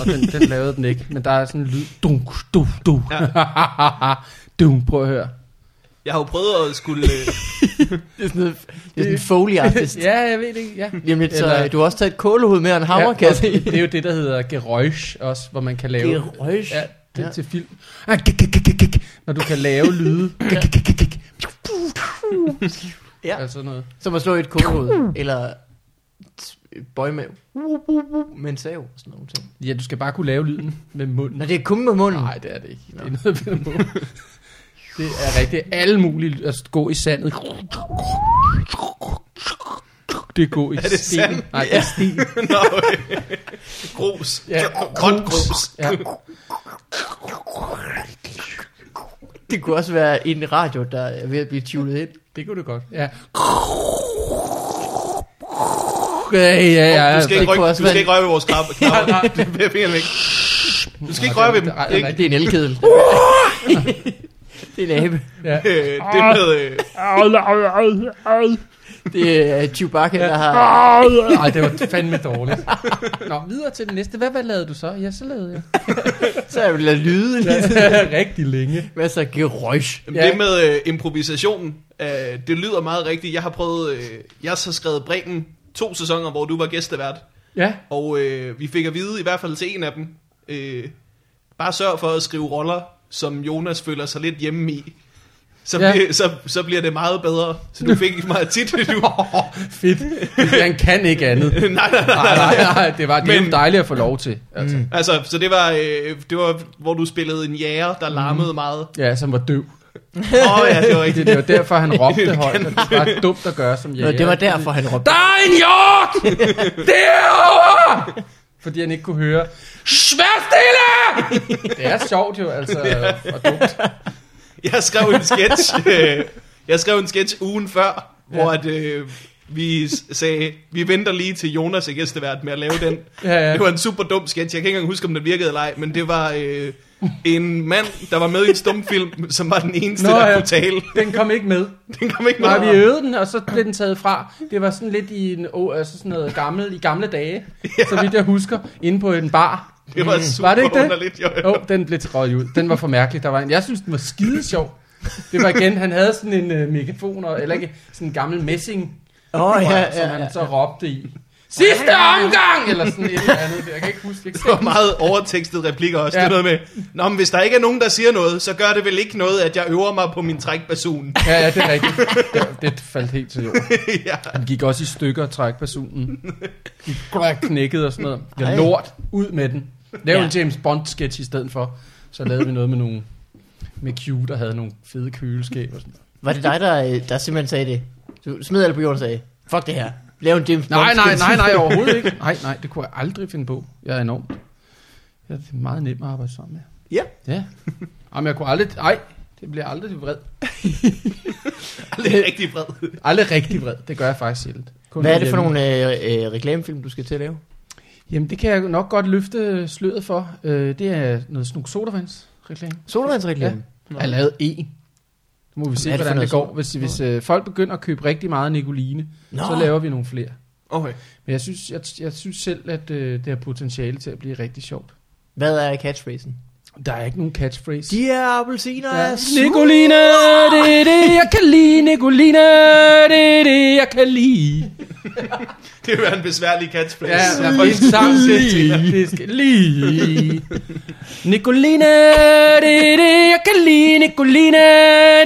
[SPEAKER 1] Og den, den lavede den ikke. Men der er sådan en lyd. Dunk, du, du. du, prøv at høre.
[SPEAKER 4] Jeg har jo prøvet at skulle... øh,
[SPEAKER 3] Det er sådan, noget, det er sådan en foley artist. ja.
[SPEAKER 1] ja, jeg ved det ikke. Ja.
[SPEAKER 3] Jamen, lidt, så
[SPEAKER 1] Eller-
[SPEAKER 3] øh, du har også taget et kålehoved med og en hammer,
[SPEAKER 1] ja,
[SPEAKER 3] kan jeg
[SPEAKER 1] og
[SPEAKER 3] se.
[SPEAKER 1] det, det er jo det, der hedder geräusch også, hvor man kan lave...
[SPEAKER 3] Geräusch.
[SPEAKER 1] Ja, det
[SPEAKER 3] Ja.
[SPEAKER 1] ja. til film. Ah, gik, gik, gik, gik, gik. Når du kan lave lyde. Gik, gik, gik, gik.
[SPEAKER 3] Ja.
[SPEAKER 1] Altså noget.
[SPEAKER 3] Som at slå i et kålehoved, eller bøj med, med en sav og sådan nogle ting.
[SPEAKER 1] Ja, du skal bare kunne lave lyden med munden.
[SPEAKER 3] Når det er kun med munden.
[SPEAKER 1] Nej, det er det ikke. Det er noget, vi må. Mm. Det er rigtigt. Alle mulige at gå i sandet. Det er gå i er sten.
[SPEAKER 4] det sand?
[SPEAKER 1] Nej, det er sten.
[SPEAKER 4] Nå, øh. grus.
[SPEAKER 1] Ja,
[SPEAKER 4] Grønt grus.
[SPEAKER 1] Ja.
[SPEAKER 3] Det kunne også være en radio, der er ved at blive tunet ind.
[SPEAKER 1] Det kunne du godt. Ja. Ja, ja, ja.
[SPEAKER 4] Du skal
[SPEAKER 3] det
[SPEAKER 4] ikke
[SPEAKER 3] kunne
[SPEAKER 4] røge,
[SPEAKER 3] også
[SPEAKER 4] du skal
[SPEAKER 3] være-
[SPEAKER 4] ikke røge ved vores knapper. knapper. Det bliver fingeren væk. Du skal ikke røre ved dem.
[SPEAKER 1] Det er
[SPEAKER 4] Ikke?
[SPEAKER 3] Det er en elkedel. det er en abe.
[SPEAKER 1] Ja.
[SPEAKER 4] Øh, Det
[SPEAKER 1] Ah.
[SPEAKER 4] med... øh,
[SPEAKER 3] Det er Chewbacca, der har...
[SPEAKER 1] Nej, det var fandme dårligt. Nå, videre til den næste. Hvad, hvad lavede du så? Ja, så lavede jeg.
[SPEAKER 3] Så er det lade lyde.
[SPEAKER 1] Rigtig længe.
[SPEAKER 3] Hvad så gerøjs?
[SPEAKER 1] Ja.
[SPEAKER 4] Det med øh, improvisationen, øh, det lyder meget rigtigt. Jeg har prøvet, øh, jeg har så skrevet Bremen to sæsoner, hvor du var gæstevært.
[SPEAKER 1] Ja.
[SPEAKER 4] Og øh, vi fik at vide, i hvert fald til en af dem, øh, bare sørg for at skrive roller, som Jonas føler sig lidt hjemme i. Så, ja.
[SPEAKER 1] Ja.
[SPEAKER 4] bliver, så, så bliver det meget bedre. Så du fik meget tit, du...
[SPEAKER 1] Fedt. Han kan ikke andet.
[SPEAKER 4] nej, nej, nej, nej.
[SPEAKER 1] Nej, nej, nej. Det var det er
[SPEAKER 4] Men-
[SPEAKER 1] jo dejligt at få lov til. Altså.
[SPEAKER 4] Altså, så det var, øh, det var, hvor du spillede en jæger, der larmede meget.
[SPEAKER 1] Ja, som var døv.
[SPEAKER 4] Åh oh, ja,
[SPEAKER 1] Mm.
[SPEAKER 4] det var
[SPEAKER 1] Det,
[SPEAKER 4] rigtigt.
[SPEAKER 1] det var derfor, han råbte højt. og Det var dumt at gøre som jeg.
[SPEAKER 3] Nå, det var derfor, han råbte.
[SPEAKER 1] Der er en hjort! Derovre! Fordi han ikke kunne høre. Svær stille! Det er sjovt jo, altså. Og dumt.
[SPEAKER 4] Jeg skrev en sketch, øh, jeg skrev en sketch ugen før, hvor at, øh, vi s- sagde, vi venter lige til Jonas er gæstevært med at lave den.
[SPEAKER 1] Ja, ja.
[SPEAKER 4] Det var en super dum sketch, jeg kan ikke engang huske, om den virkede eller ej, men det var øh, en mand, der var med i en stumfilm, som var den eneste, Nå,
[SPEAKER 1] Nå,
[SPEAKER 4] der ja.
[SPEAKER 1] ja.
[SPEAKER 4] kunne tale.
[SPEAKER 1] Den kom ikke med.
[SPEAKER 4] Den kom ikke
[SPEAKER 1] Nej,
[SPEAKER 4] med.
[SPEAKER 1] vi øvede den, og så blev den taget fra. Det var sådan lidt i en, oh, altså sådan noget gammel, i gamle dage, ja. så vidt jeg husker, inde på en bar.
[SPEAKER 4] Det var super
[SPEAKER 1] Var det ikke det?
[SPEAKER 4] underligt. Jo, jo.
[SPEAKER 1] Åh, oh, den blev røget ud. Den var for mærkelig. Der var en, jeg synes, den var skide sjov. Det var igen, han havde sådan en øh, megafon, og, eller ikke, sådan en gammel messing,
[SPEAKER 3] Åh, oh,
[SPEAKER 1] ja,
[SPEAKER 3] ja,
[SPEAKER 1] ja, som
[SPEAKER 3] ja, ja.
[SPEAKER 1] han så råbte i. Sidste omgang! Eller sådan et eller andet. Jeg kan ikke huske. Jeg kan
[SPEAKER 4] Det var meget overtekstede replikker også. Ja.
[SPEAKER 1] Ja.
[SPEAKER 4] Det er noget med, Nå, men hvis der ikke er nogen, der siger noget, så gør det vel ikke noget, at jeg øver mig på min trækbasun.
[SPEAKER 1] Ja, ja, det er rigtigt. Det, det faldt helt til jorden.
[SPEAKER 4] ja.
[SPEAKER 1] Han gik også i stykker, trækpersonen. Gik godt knækket og sådan noget. Det var
[SPEAKER 3] Ej.
[SPEAKER 1] lort. Ud med den. Lav
[SPEAKER 3] Ja.
[SPEAKER 1] ja. en James Bond-sketch i stedet for. Så lavede vi noget med nogle med Q, der havde nogle fede køleskaber. og Sådan. noget.
[SPEAKER 3] Var det dig, der, øh, der simpelthen sagde det? Du smed alle på jorden og sagde, fuck det her. Lav en James Bond.
[SPEAKER 1] Nej, nej, nej, nej, overhovedet ikke. Nej, nej, det kunne jeg aldrig finde på. Jeg er enormt. Jeg er meget nem at arbejde sammen med.
[SPEAKER 3] Ja.
[SPEAKER 1] Ja. Jamen, jeg kunne aldrig... Nej, det bliver aldrig vred.
[SPEAKER 4] Det er rigtig vred.
[SPEAKER 1] Aldrig rigtig vred. Det gør jeg faktisk sjældent. Kun
[SPEAKER 3] Hvad er det for
[SPEAKER 1] hjemme.
[SPEAKER 3] nogle øh, øh, reklamefilm, du skal til at lave?
[SPEAKER 1] Jamen, det kan jeg nok godt løfte sløret for. Øh, det er noget snuk sodavands reklame.
[SPEAKER 3] Solvandsreklame?
[SPEAKER 1] Jeg har lavet en. Nu må vi se,
[SPEAKER 3] er det for
[SPEAKER 1] hvordan
[SPEAKER 3] noget
[SPEAKER 1] det går.
[SPEAKER 3] sol-
[SPEAKER 1] Hvis, hvis øh, folk begynder at købe rigtig meget Nicoline,
[SPEAKER 3] Nå.
[SPEAKER 1] så laver vi nogle flere.
[SPEAKER 4] Okay.
[SPEAKER 1] Men jeg synes, jeg, jeg synes selv, at øh, det har potentiale til at blive rigtig sjovt.
[SPEAKER 3] Hvad er catchphrasen?
[SPEAKER 1] Der er ikke nogen catchphrase.
[SPEAKER 3] De her appelsiner
[SPEAKER 1] Ja.
[SPEAKER 3] er
[SPEAKER 1] Nicoline, det er det, jeg kan lide. Nicoline, det er det, jeg kan lide.
[SPEAKER 4] Det vil være en besværlig catchphrase.
[SPEAKER 1] Ja,
[SPEAKER 4] som
[SPEAKER 1] der er
[SPEAKER 4] folk
[SPEAKER 1] en sang
[SPEAKER 4] skal sætte til.
[SPEAKER 1] lige. Det skal lige. Nicoline, det er det, jeg kan lide. Nicoline,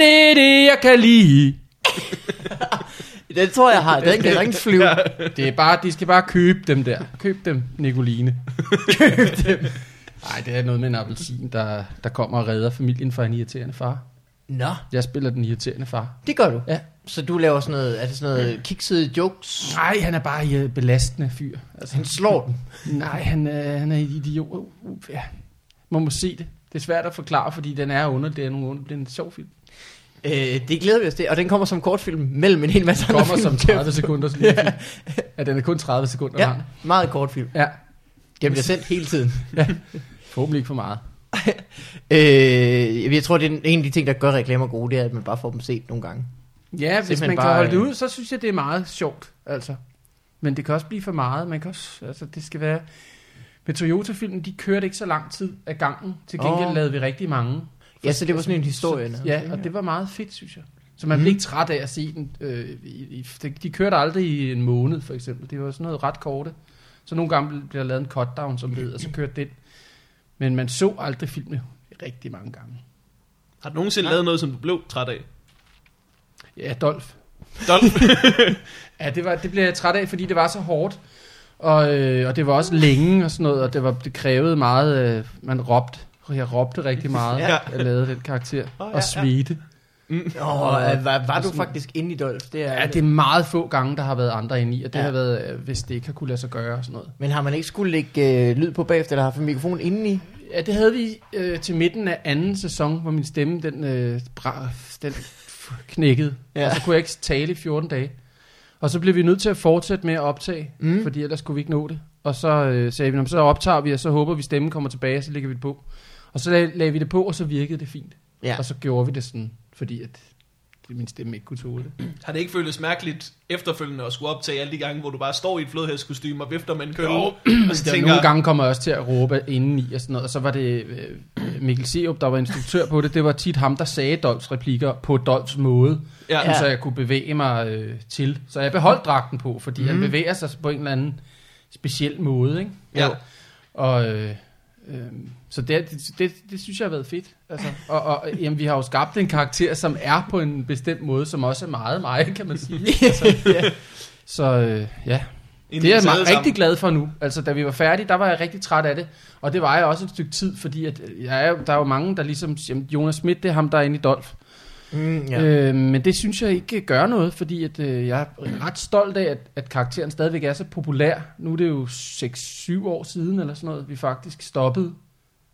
[SPEAKER 1] det er det, jeg kan lide.
[SPEAKER 3] Den tror jeg har. Den kan der ikke flyve.
[SPEAKER 1] Det er bare, de skal bare købe dem der. Køb dem, Nicoline. Køb dem. Nej, det er noget med en appelsin, der, der kommer og redder familien fra en irriterende far.
[SPEAKER 3] Nå,
[SPEAKER 1] Jeg spiller den irriterende far.
[SPEAKER 3] det gør du.
[SPEAKER 1] Ja.
[SPEAKER 3] Så du laver sådan noget, er det sådan noget kiksede jokes?
[SPEAKER 1] Nej, han er bare øh, belastende fyr. Altså,
[SPEAKER 3] Han slår den.
[SPEAKER 1] nej, han, øh, han er en idiot. Uh, uh, ja. Man må se det. Det er svært at forklare, fordi den er under. Det er nogle under. Det er en sjov film.
[SPEAKER 3] Øh, det glæder vi os til. Og den kommer som kortfilm mellem en hel masse
[SPEAKER 1] Den
[SPEAKER 3] andre
[SPEAKER 1] kommer
[SPEAKER 3] film.
[SPEAKER 1] som 30 sekunder. Ja. ja, den er kun 30 sekunder
[SPEAKER 3] Ja,
[SPEAKER 1] lang.
[SPEAKER 3] meget kortfilm.
[SPEAKER 1] Ja.
[SPEAKER 3] Den bliver sendt hele tiden.
[SPEAKER 1] Forhåbentlig ikke for meget.
[SPEAKER 3] Øh, jeg tror, det er en af de ting, der gør reklamer gode, det er, at man bare får dem set nogle gange.
[SPEAKER 1] Ja, hvis
[SPEAKER 3] Simpelthen
[SPEAKER 1] man
[SPEAKER 3] bare,
[SPEAKER 1] kan holde det
[SPEAKER 3] øh,
[SPEAKER 1] ud, så synes jeg, det er meget sjovt, altså. Men det kan også blive for meget. Man kan også, altså, det skal være... Med Toyota-filmen, de kørte ikke så lang tid af gangen. Til gengæld
[SPEAKER 3] Åh.
[SPEAKER 1] oh. lavede vi rigtig mange.
[SPEAKER 3] Ja, så det var sådan en historie. nærmest,
[SPEAKER 1] Ja,
[SPEAKER 3] ikke?
[SPEAKER 1] og det var meget fedt, synes jeg. Så man mm. blev ikke træt af at se den. Øh, i, i, de- de kørte aldrig i en måned, for eksempel. Det var sådan noget ret korte. Så nogle gange blev- blev der lavet en cutdown, som det hedder, så kørte den. Men man så aldrig filmene rigtig mange gange.
[SPEAKER 4] Har du nogensinde lavet noget, som du blev træt af?
[SPEAKER 1] Ja, Dolf.
[SPEAKER 4] Dolph?
[SPEAKER 1] Ja, det, var, det blev jeg træt af, fordi det var så hårdt. Og, øh, og det var også længe og sådan noget, og det, var, det krævede meget, øh, man råbte. Jeg råbte rigtig meget,
[SPEAKER 4] Ja.
[SPEAKER 1] ja. jeg lavede den karakter. Oh,
[SPEAKER 4] Åh, ja,
[SPEAKER 1] ja, og svedte.
[SPEAKER 3] Åh, oh, var, var du faktisk inde i Dolph? Det er,
[SPEAKER 1] Ja. ja, det er meget få gange, der har været andre ind i, og det
[SPEAKER 3] Ja.
[SPEAKER 1] ja. har været, øh, hvis det ikke har kunne lade sig gøre og sådan noget.
[SPEAKER 3] Men har man ikke skulle lægge øh, lyd på bagefter, eller haft en mikrofon indeni?
[SPEAKER 1] Ja, det havde vi øh, til midten af anden sæson, hvor min stemme, den, øh, bra, den f- knækkede.
[SPEAKER 3] Ja.
[SPEAKER 1] Ja. Og så kunne jeg ikke tale i 14 dage. Og så blev vi nødt til at fortsætte med at optage,
[SPEAKER 3] Mm.
[SPEAKER 1] mm. fordi ellers kunne vi ikke nå det. Og så øh, sagde vi, "Nå, men så optager vi, og så håber vi, stemmen kommer tilbage, og så lægger vi det på. Og så lag, lagde vi det på, og så virkede det fint.
[SPEAKER 3] Ja.
[SPEAKER 1] Ja. Og så gjorde vi det sådan, fordi at det- min stemme ikke kunne tåle det.
[SPEAKER 4] Har det ikke føltes mærkeligt efterfølgende at skulle optage alle de gange, hvor du bare står i et flodhæskostyme og vifter med en kølle?
[SPEAKER 1] Jo,
[SPEAKER 4] og så
[SPEAKER 1] Der
[SPEAKER 4] tænker,
[SPEAKER 1] tænker... Nogle gange kommer jeg også til at råbe indeni og sådan noget, og så var det øh, Mikkel Seup, der var instruktør på det. Det var tit ham, der sagde Dolfs replikker på Dolfs måde,
[SPEAKER 4] Ja.
[SPEAKER 1] ja. så jeg kunne bevæge mig øh, til. Så jeg beholdt dragten på, fordi mm.
[SPEAKER 4] Mhm.
[SPEAKER 1] han bevæger sig på en eller anden speciel måde. Ikke?
[SPEAKER 4] Ja.
[SPEAKER 1] Og, øh, øh, så det, det, det, det synes jeg har været fedt. Altså, og og jamen, vi har jo skabt en karakter, som er på en bestemt måde, som også er meget mig, kan man sige. Altså,
[SPEAKER 3] Ja.
[SPEAKER 1] Så øh, ja.
[SPEAKER 4] Inden
[SPEAKER 1] Det er jeg
[SPEAKER 4] vi sad
[SPEAKER 1] meget,
[SPEAKER 4] sammen.
[SPEAKER 1] rigtig glad for nu. Altså, da vi var færdige, der var jeg rigtig træt af det. Og det var jeg også et stykke tid, fordi at øh, jeg er, jo- der er jo mange, der ligesom... Jamen, Jonas Schmidt, det er ham, der er inde i Dolf.
[SPEAKER 3] Mm, ja.
[SPEAKER 1] Ja. Øh, men det synes jeg ikke gør noget, fordi at, øh, jeg er ret stolt af, at, at karakteren stadigvæk er så populær. Nu er det jo 6-7 år siden, eller sådan noget, vi faktisk stoppede.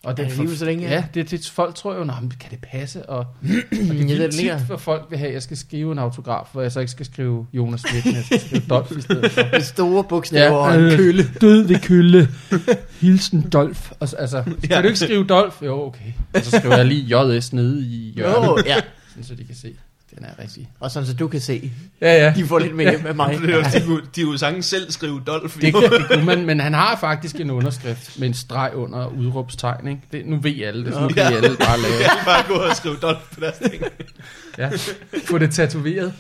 [SPEAKER 1] Og
[SPEAKER 3] Ja, alligevel så længe, ja.
[SPEAKER 1] ja. ja det, det, folk tror jo, "Nå, men kan det passe? Og, og det
[SPEAKER 3] ved
[SPEAKER 1] er
[SPEAKER 3] det
[SPEAKER 1] tit,
[SPEAKER 3] ikke.
[SPEAKER 1] hvor folk vil have, at jeg skal skrive en autograf, hvor jeg så ikke skal skrive Jonas Schmidt, men jeg skal skrive Dolf i stedet for.
[SPEAKER 3] Med store bogstaver og en
[SPEAKER 1] øh,
[SPEAKER 3] kø.
[SPEAKER 1] kølle. Død ved kølle. Hilsen Dolf. Og, så- altså, kan
[SPEAKER 4] Ja.
[SPEAKER 1] du ikke skrive Dolf? Jo, okay. Og så skriver jeg lige JS nede i hjørnet,
[SPEAKER 3] Jo, ja.
[SPEAKER 1] sådan, så de kan se. Den er rigtig.
[SPEAKER 3] Og sådan, så du kan se,
[SPEAKER 1] Ja, ja.
[SPEAKER 3] de får lidt mere hjælp af mig.
[SPEAKER 4] Det er jo- De, kunne- de, kunne sagtens selv skrive Dolph.
[SPEAKER 1] Det, det kunne man, men han har faktisk en underskrift med en streg under udråbstegn, ikke? Det, nu ved alle det, så nu kan I alle bare lave
[SPEAKER 4] Jeg kan bare gå og skrive Dolph på deres ting.
[SPEAKER 1] ja. Få det tatoveret.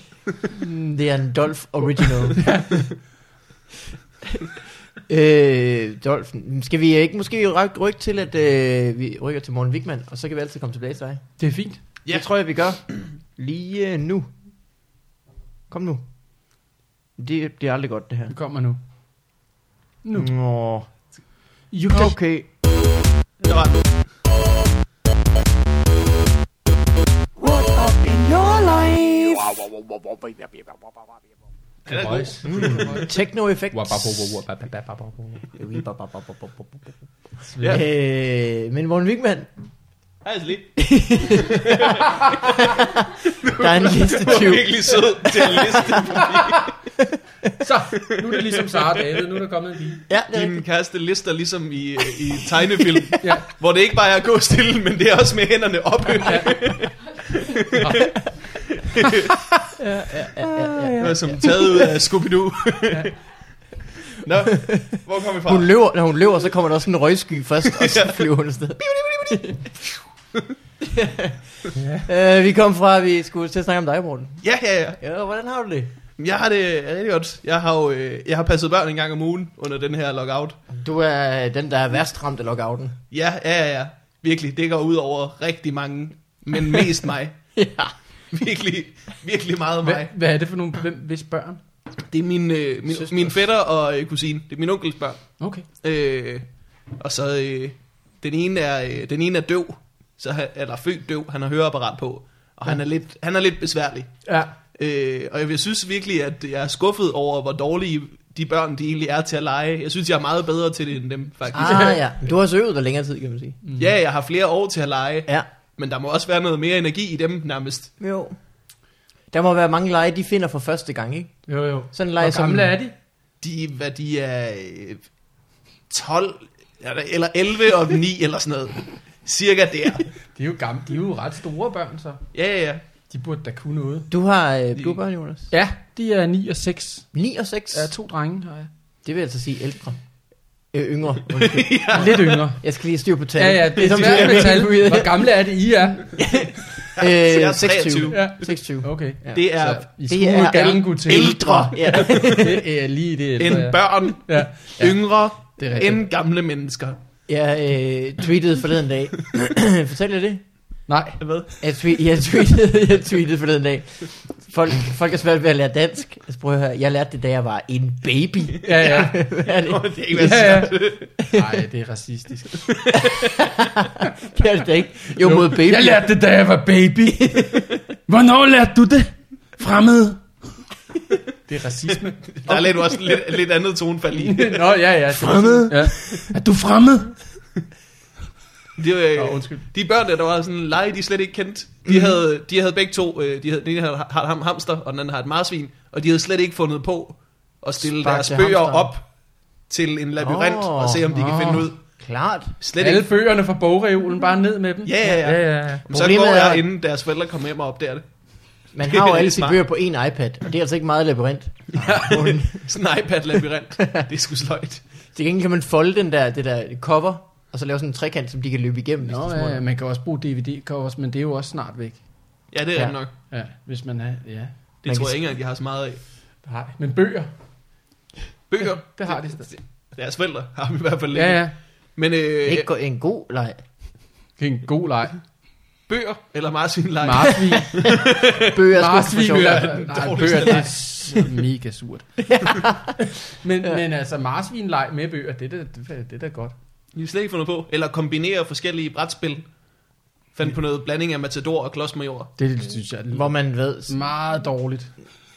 [SPEAKER 3] Mm, Det er en Dolph Original. øh, Dolph, skal vi ikke måske ry- rykke til, at øh, vi rykker til Morten Wigman, og så kan vi altid komme tilbage til dig?
[SPEAKER 1] Det er fint.
[SPEAKER 4] Ja.
[SPEAKER 3] Ja. Det tror jeg, vi gør. Lige øh, nu. Kom nu. Det, det er aldrig godt, det her.
[SPEAKER 1] Det kommer nu. Nu.
[SPEAKER 3] Nå.
[SPEAKER 1] You can...
[SPEAKER 3] Okay.
[SPEAKER 4] Der var den.
[SPEAKER 5] What up in your life?
[SPEAKER 4] Den er god.
[SPEAKER 3] Techno effects.
[SPEAKER 4] Ja.
[SPEAKER 3] Øh, men Morten Wigman,
[SPEAKER 4] Hej, Slim.
[SPEAKER 3] der er en liste
[SPEAKER 4] Du er
[SPEAKER 3] 20.
[SPEAKER 4] virkelig sød til at liste
[SPEAKER 1] Så, nu er det ligesom Sara og David. Nu er der kommet en pige.
[SPEAKER 3] Ja, det er
[SPEAKER 4] din
[SPEAKER 3] rigtigt.
[SPEAKER 4] kæreste lister, ligesom i, øh, i tegnefilm.
[SPEAKER 1] Ja.
[SPEAKER 4] Hvor det ikke bare er at gå stille, men det er også med hænderne op. ja, ja. Som taget ud af Scooby-Doo. Nå, hvor kom vi fra?
[SPEAKER 3] Hun løber, når hun løber, så kommer der også en røgsky først, og så flyver hun afsted. ja. øh, vi kom fra, at vi skulle til at snakke om dig, Morten.
[SPEAKER 4] Ja, ja, ja.
[SPEAKER 3] Ja, hvordan har du det?
[SPEAKER 4] Jamen, Jeg har det rigtig godt. Jeg har jo øh, jeg har passet børn en gang om ugen under den her lockout.
[SPEAKER 3] Du er den, der er værst ramt af lockouten.
[SPEAKER 4] Ja, ja, ja, ja. Virkelig, det går ud over rigtig mange, men mest mig.
[SPEAKER 3] ja.
[SPEAKER 4] Virkelig, virkelig meget
[SPEAKER 1] Hvad,
[SPEAKER 4] mig.
[SPEAKER 1] hvad er det for nogle... Hvem, hvis børn?
[SPEAKER 4] Det er min, øh, min,
[SPEAKER 3] Søsters.
[SPEAKER 4] min fætter og øh, kusine. Det er min onkels børn.
[SPEAKER 1] Okay.
[SPEAKER 4] Øh, og så, øh, den, ene er, øh, den ene er døv, så han, eller født døv, han har høreapparat på. Og ja. han, er lidt, han er lidt besværlig.
[SPEAKER 1] Ja.
[SPEAKER 4] Øh, og jeg vil- synes virkelig, at jeg er skuffet over, hvor dårlige de børn, de egentlig er til at lege. Jeg synes, jeg er meget bedre til det end dem, faktisk.
[SPEAKER 3] Ah, ja. Du har også øvet dig længere tid, kan man sige.
[SPEAKER 4] Ja, jeg har flere år til at lege,
[SPEAKER 3] Ja.
[SPEAKER 4] men der må også være noget mere energi i dem nærmest.
[SPEAKER 3] Jo. Der må være mange lege, de finder for første gang, ikke?
[SPEAKER 1] Jo, jo.
[SPEAKER 3] Sådan lege
[SPEAKER 1] Hvor
[SPEAKER 3] som...
[SPEAKER 1] gamle er de?
[SPEAKER 4] De, hvad de er, øh, 12 eller- eller 11 og 9 eller sådan noget. Cirka der.
[SPEAKER 1] De er jo gamle. De er jo ret store børn, så.
[SPEAKER 4] Ja, ja, ja.
[SPEAKER 1] De burde da kunne noget.
[SPEAKER 3] Du har øh, blå børn, Jonas.
[SPEAKER 1] Ja, de er 9 og 6.
[SPEAKER 3] 9 og 6.
[SPEAKER 1] Ja, to drenge har jeg.
[SPEAKER 3] Det vil altså sige ældre. Øh, yngre.
[SPEAKER 1] Lidt yngre.
[SPEAKER 3] Jeg skal lige styre på
[SPEAKER 1] Ja,
[SPEAKER 3] tallet.
[SPEAKER 1] ja, det er svært med tal. Hvor gamle er det, I er?
[SPEAKER 4] Så jeg er
[SPEAKER 3] Øh,
[SPEAKER 4] 23.
[SPEAKER 3] 26.
[SPEAKER 1] Ja.
[SPEAKER 3] 26.
[SPEAKER 1] Okay.
[SPEAKER 3] Ja.
[SPEAKER 4] Det er
[SPEAKER 1] Så I
[SPEAKER 3] Det
[SPEAKER 1] skulle
[SPEAKER 3] er
[SPEAKER 1] gerne kunne til.
[SPEAKER 3] Ældre. Ja.
[SPEAKER 1] Det er lige det ældre,
[SPEAKER 4] end
[SPEAKER 1] ja.
[SPEAKER 4] børn,
[SPEAKER 1] Ja.
[SPEAKER 4] yngre,
[SPEAKER 1] Det er rigtigt.
[SPEAKER 4] end gamle mennesker.
[SPEAKER 3] Jeg øh, tweetede forleden dag. Fortæl jer det.
[SPEAKER 1] Nej.
[SPEAKER 4] Hvad?
[SPEAKER 3] Jeg, twe- jeg, tweetede, jeg tweetede forleden dag. Folk, folk er svært ved at lære dansk. Altså, prøv at høre. Jeg lærte det, da jeg var en baby.
[SPEAKER 1] Ja, ja.
[SPEAKER 3] Hvad er det?
[SPEAKER 4] Det er ikke, hvad
[SPEAKER 1] Ja,
[SPEAKER 4] jeg
[SPEAKER 1] ja.
[SPEAKER 4] siger.
[SPEAKER 1] Nej, det er racistisk.
[SPEAKER 3] Det er det da ikke. Jo, mod baby.
[SPEAKER 1] Jeg lærte det, da jeg var baby. Hvornår lærte du det? Fremmed. Det er racisme.
[SPEAKER 4] Der er lidt, også lidt, lidt andet tonefald i.
[SPEAKER 1] Nå, ja, ja. Fremmed. Ja. Er du fremmed?
[SPEAKER 4] Det var,
[SPEAKER 1] Nå,
[SPEAKER 4] øh,
[SPEAKER 1] undskyld.
[SPEAKER 4] de børn, der, der var sådan lege, de slet ikke kendte.
[SPEAKER 3] Mhm.
[SPEAKER 4] De, havde, de havde begge to, øh, de havde, den ene havde har ham hamster, og den anden har et marsvin, og de havde slet ikke fundet på at stille
[SPEAKER 3] Spark
[SPEAKER 4] deres
[SPEAKER 3] til
[SPEAKER 4] bøger
[SPEAKER 3] hamsteren.
[SPEAKER 4] op til en labyrint
[SPEAKER 3] Åh,
[SPEAKER 4] og se, om de kan
[SPEAKER 1] nå.
[SPEAKER 4] finde ud.
[SPEAKER 3] Klart.
[SPEAKER 4] Slet
[SPEAKER 1] Alle
[SPEAKER 4] ikke.
[SPEAKER 1] bøgerne fra bogreolen, bare ned med dem.
[SPEAKER 4] Ja, ja, ja.
[SPEAKER 1] ja, ja.
[SPEAKER 4] Så
[SPEAKER 3] Problemet
[SPEAKER 4] går
[SPEAKER 3] er-
[SPEAKER 4] jeg, inden deres forældre kommer hjem og opdager det.
[SPEAKER 3] Man har jo
[SPEAKER 4] Det er
[SPEAKER 3] alle sine
[SPEAKER 4] smart.
[SPEAKER 3] bøger på en iPad, og det er altså ikke meget labyrint.
[SPEAKER 4] Sådan en iPad-labyrint. det er sgu sløjt.
[SPEAKER 3] Til gengæld kan man folde den der, det der cover, og så lave sådan en trekant, som de kan løbe igennem.
[SPEAKER 1] Nå,
[SPEAKER 3] hvis de
[SPEAKER 1] ja, ja,
[SPEAKER 3] ja.
[SPEAKER 1] man kan også bruge DVD-covers, men det er jo også snart væk.
[SPEAKER 4] Ja, det er
[SPEAKER 3] Ja.
[SPEAKER 4] ja. nok.
[SPEAKER 1] Ja, hvis man er, ja.
[SPEAKER 4] Det
[SPEAKER 3] Man
[SPEAKER 4] tror
[SPEAKER 3] kan
[SPEAKER 4] jeg ikke engang, de har så meget af.
[SPEAKER 1] Nej, men bøger,
[SPEAKER 4] Bøger,
[SPEAKER 1] det har de stadig.
[SPEAKER 4] deres forældre har vi i hvert fald
[SPEAKER 1] Ja,
[SPEAKER 4] ikke.
[SPEAKER 1] ja.
[SPEAKER 4] Men øh,
[SPEAKER 3] Ikke gå- en god leg.
[SPEAKER 1] Det er en god leg.
[SPEAKER 4] bøger eller marsvinleje?
[SPEAKER 1] Marsvin.
[SPEAKER 3] Bøger er sgu for
[SPEAKER 1] Marsvin.
[SPEAKER 3] sjov.
[SPEAKER 1] Bøger,
[SPEAKER 4] er den
[SPEAKER 1] nej,
[SPEAKER 4] dårligste
[SPEAKER 1] bøger det er s- mega surt. men, men altså, marsvinleg med bøger, det er da, det er- det er da godt.
[SPEAKER 4] De har slet ikke fundet på. Eller kombinere forskellige brætspil. Fandt på noget blanding af Matador og Klodsmajor.
[SPEAKER 1] Det synes jeg
[SPEAKER 3] Hvor
[SPEAKER 1] er
[SPEAKER 3] man ved,
[SPEAKER 1] meget dårligt.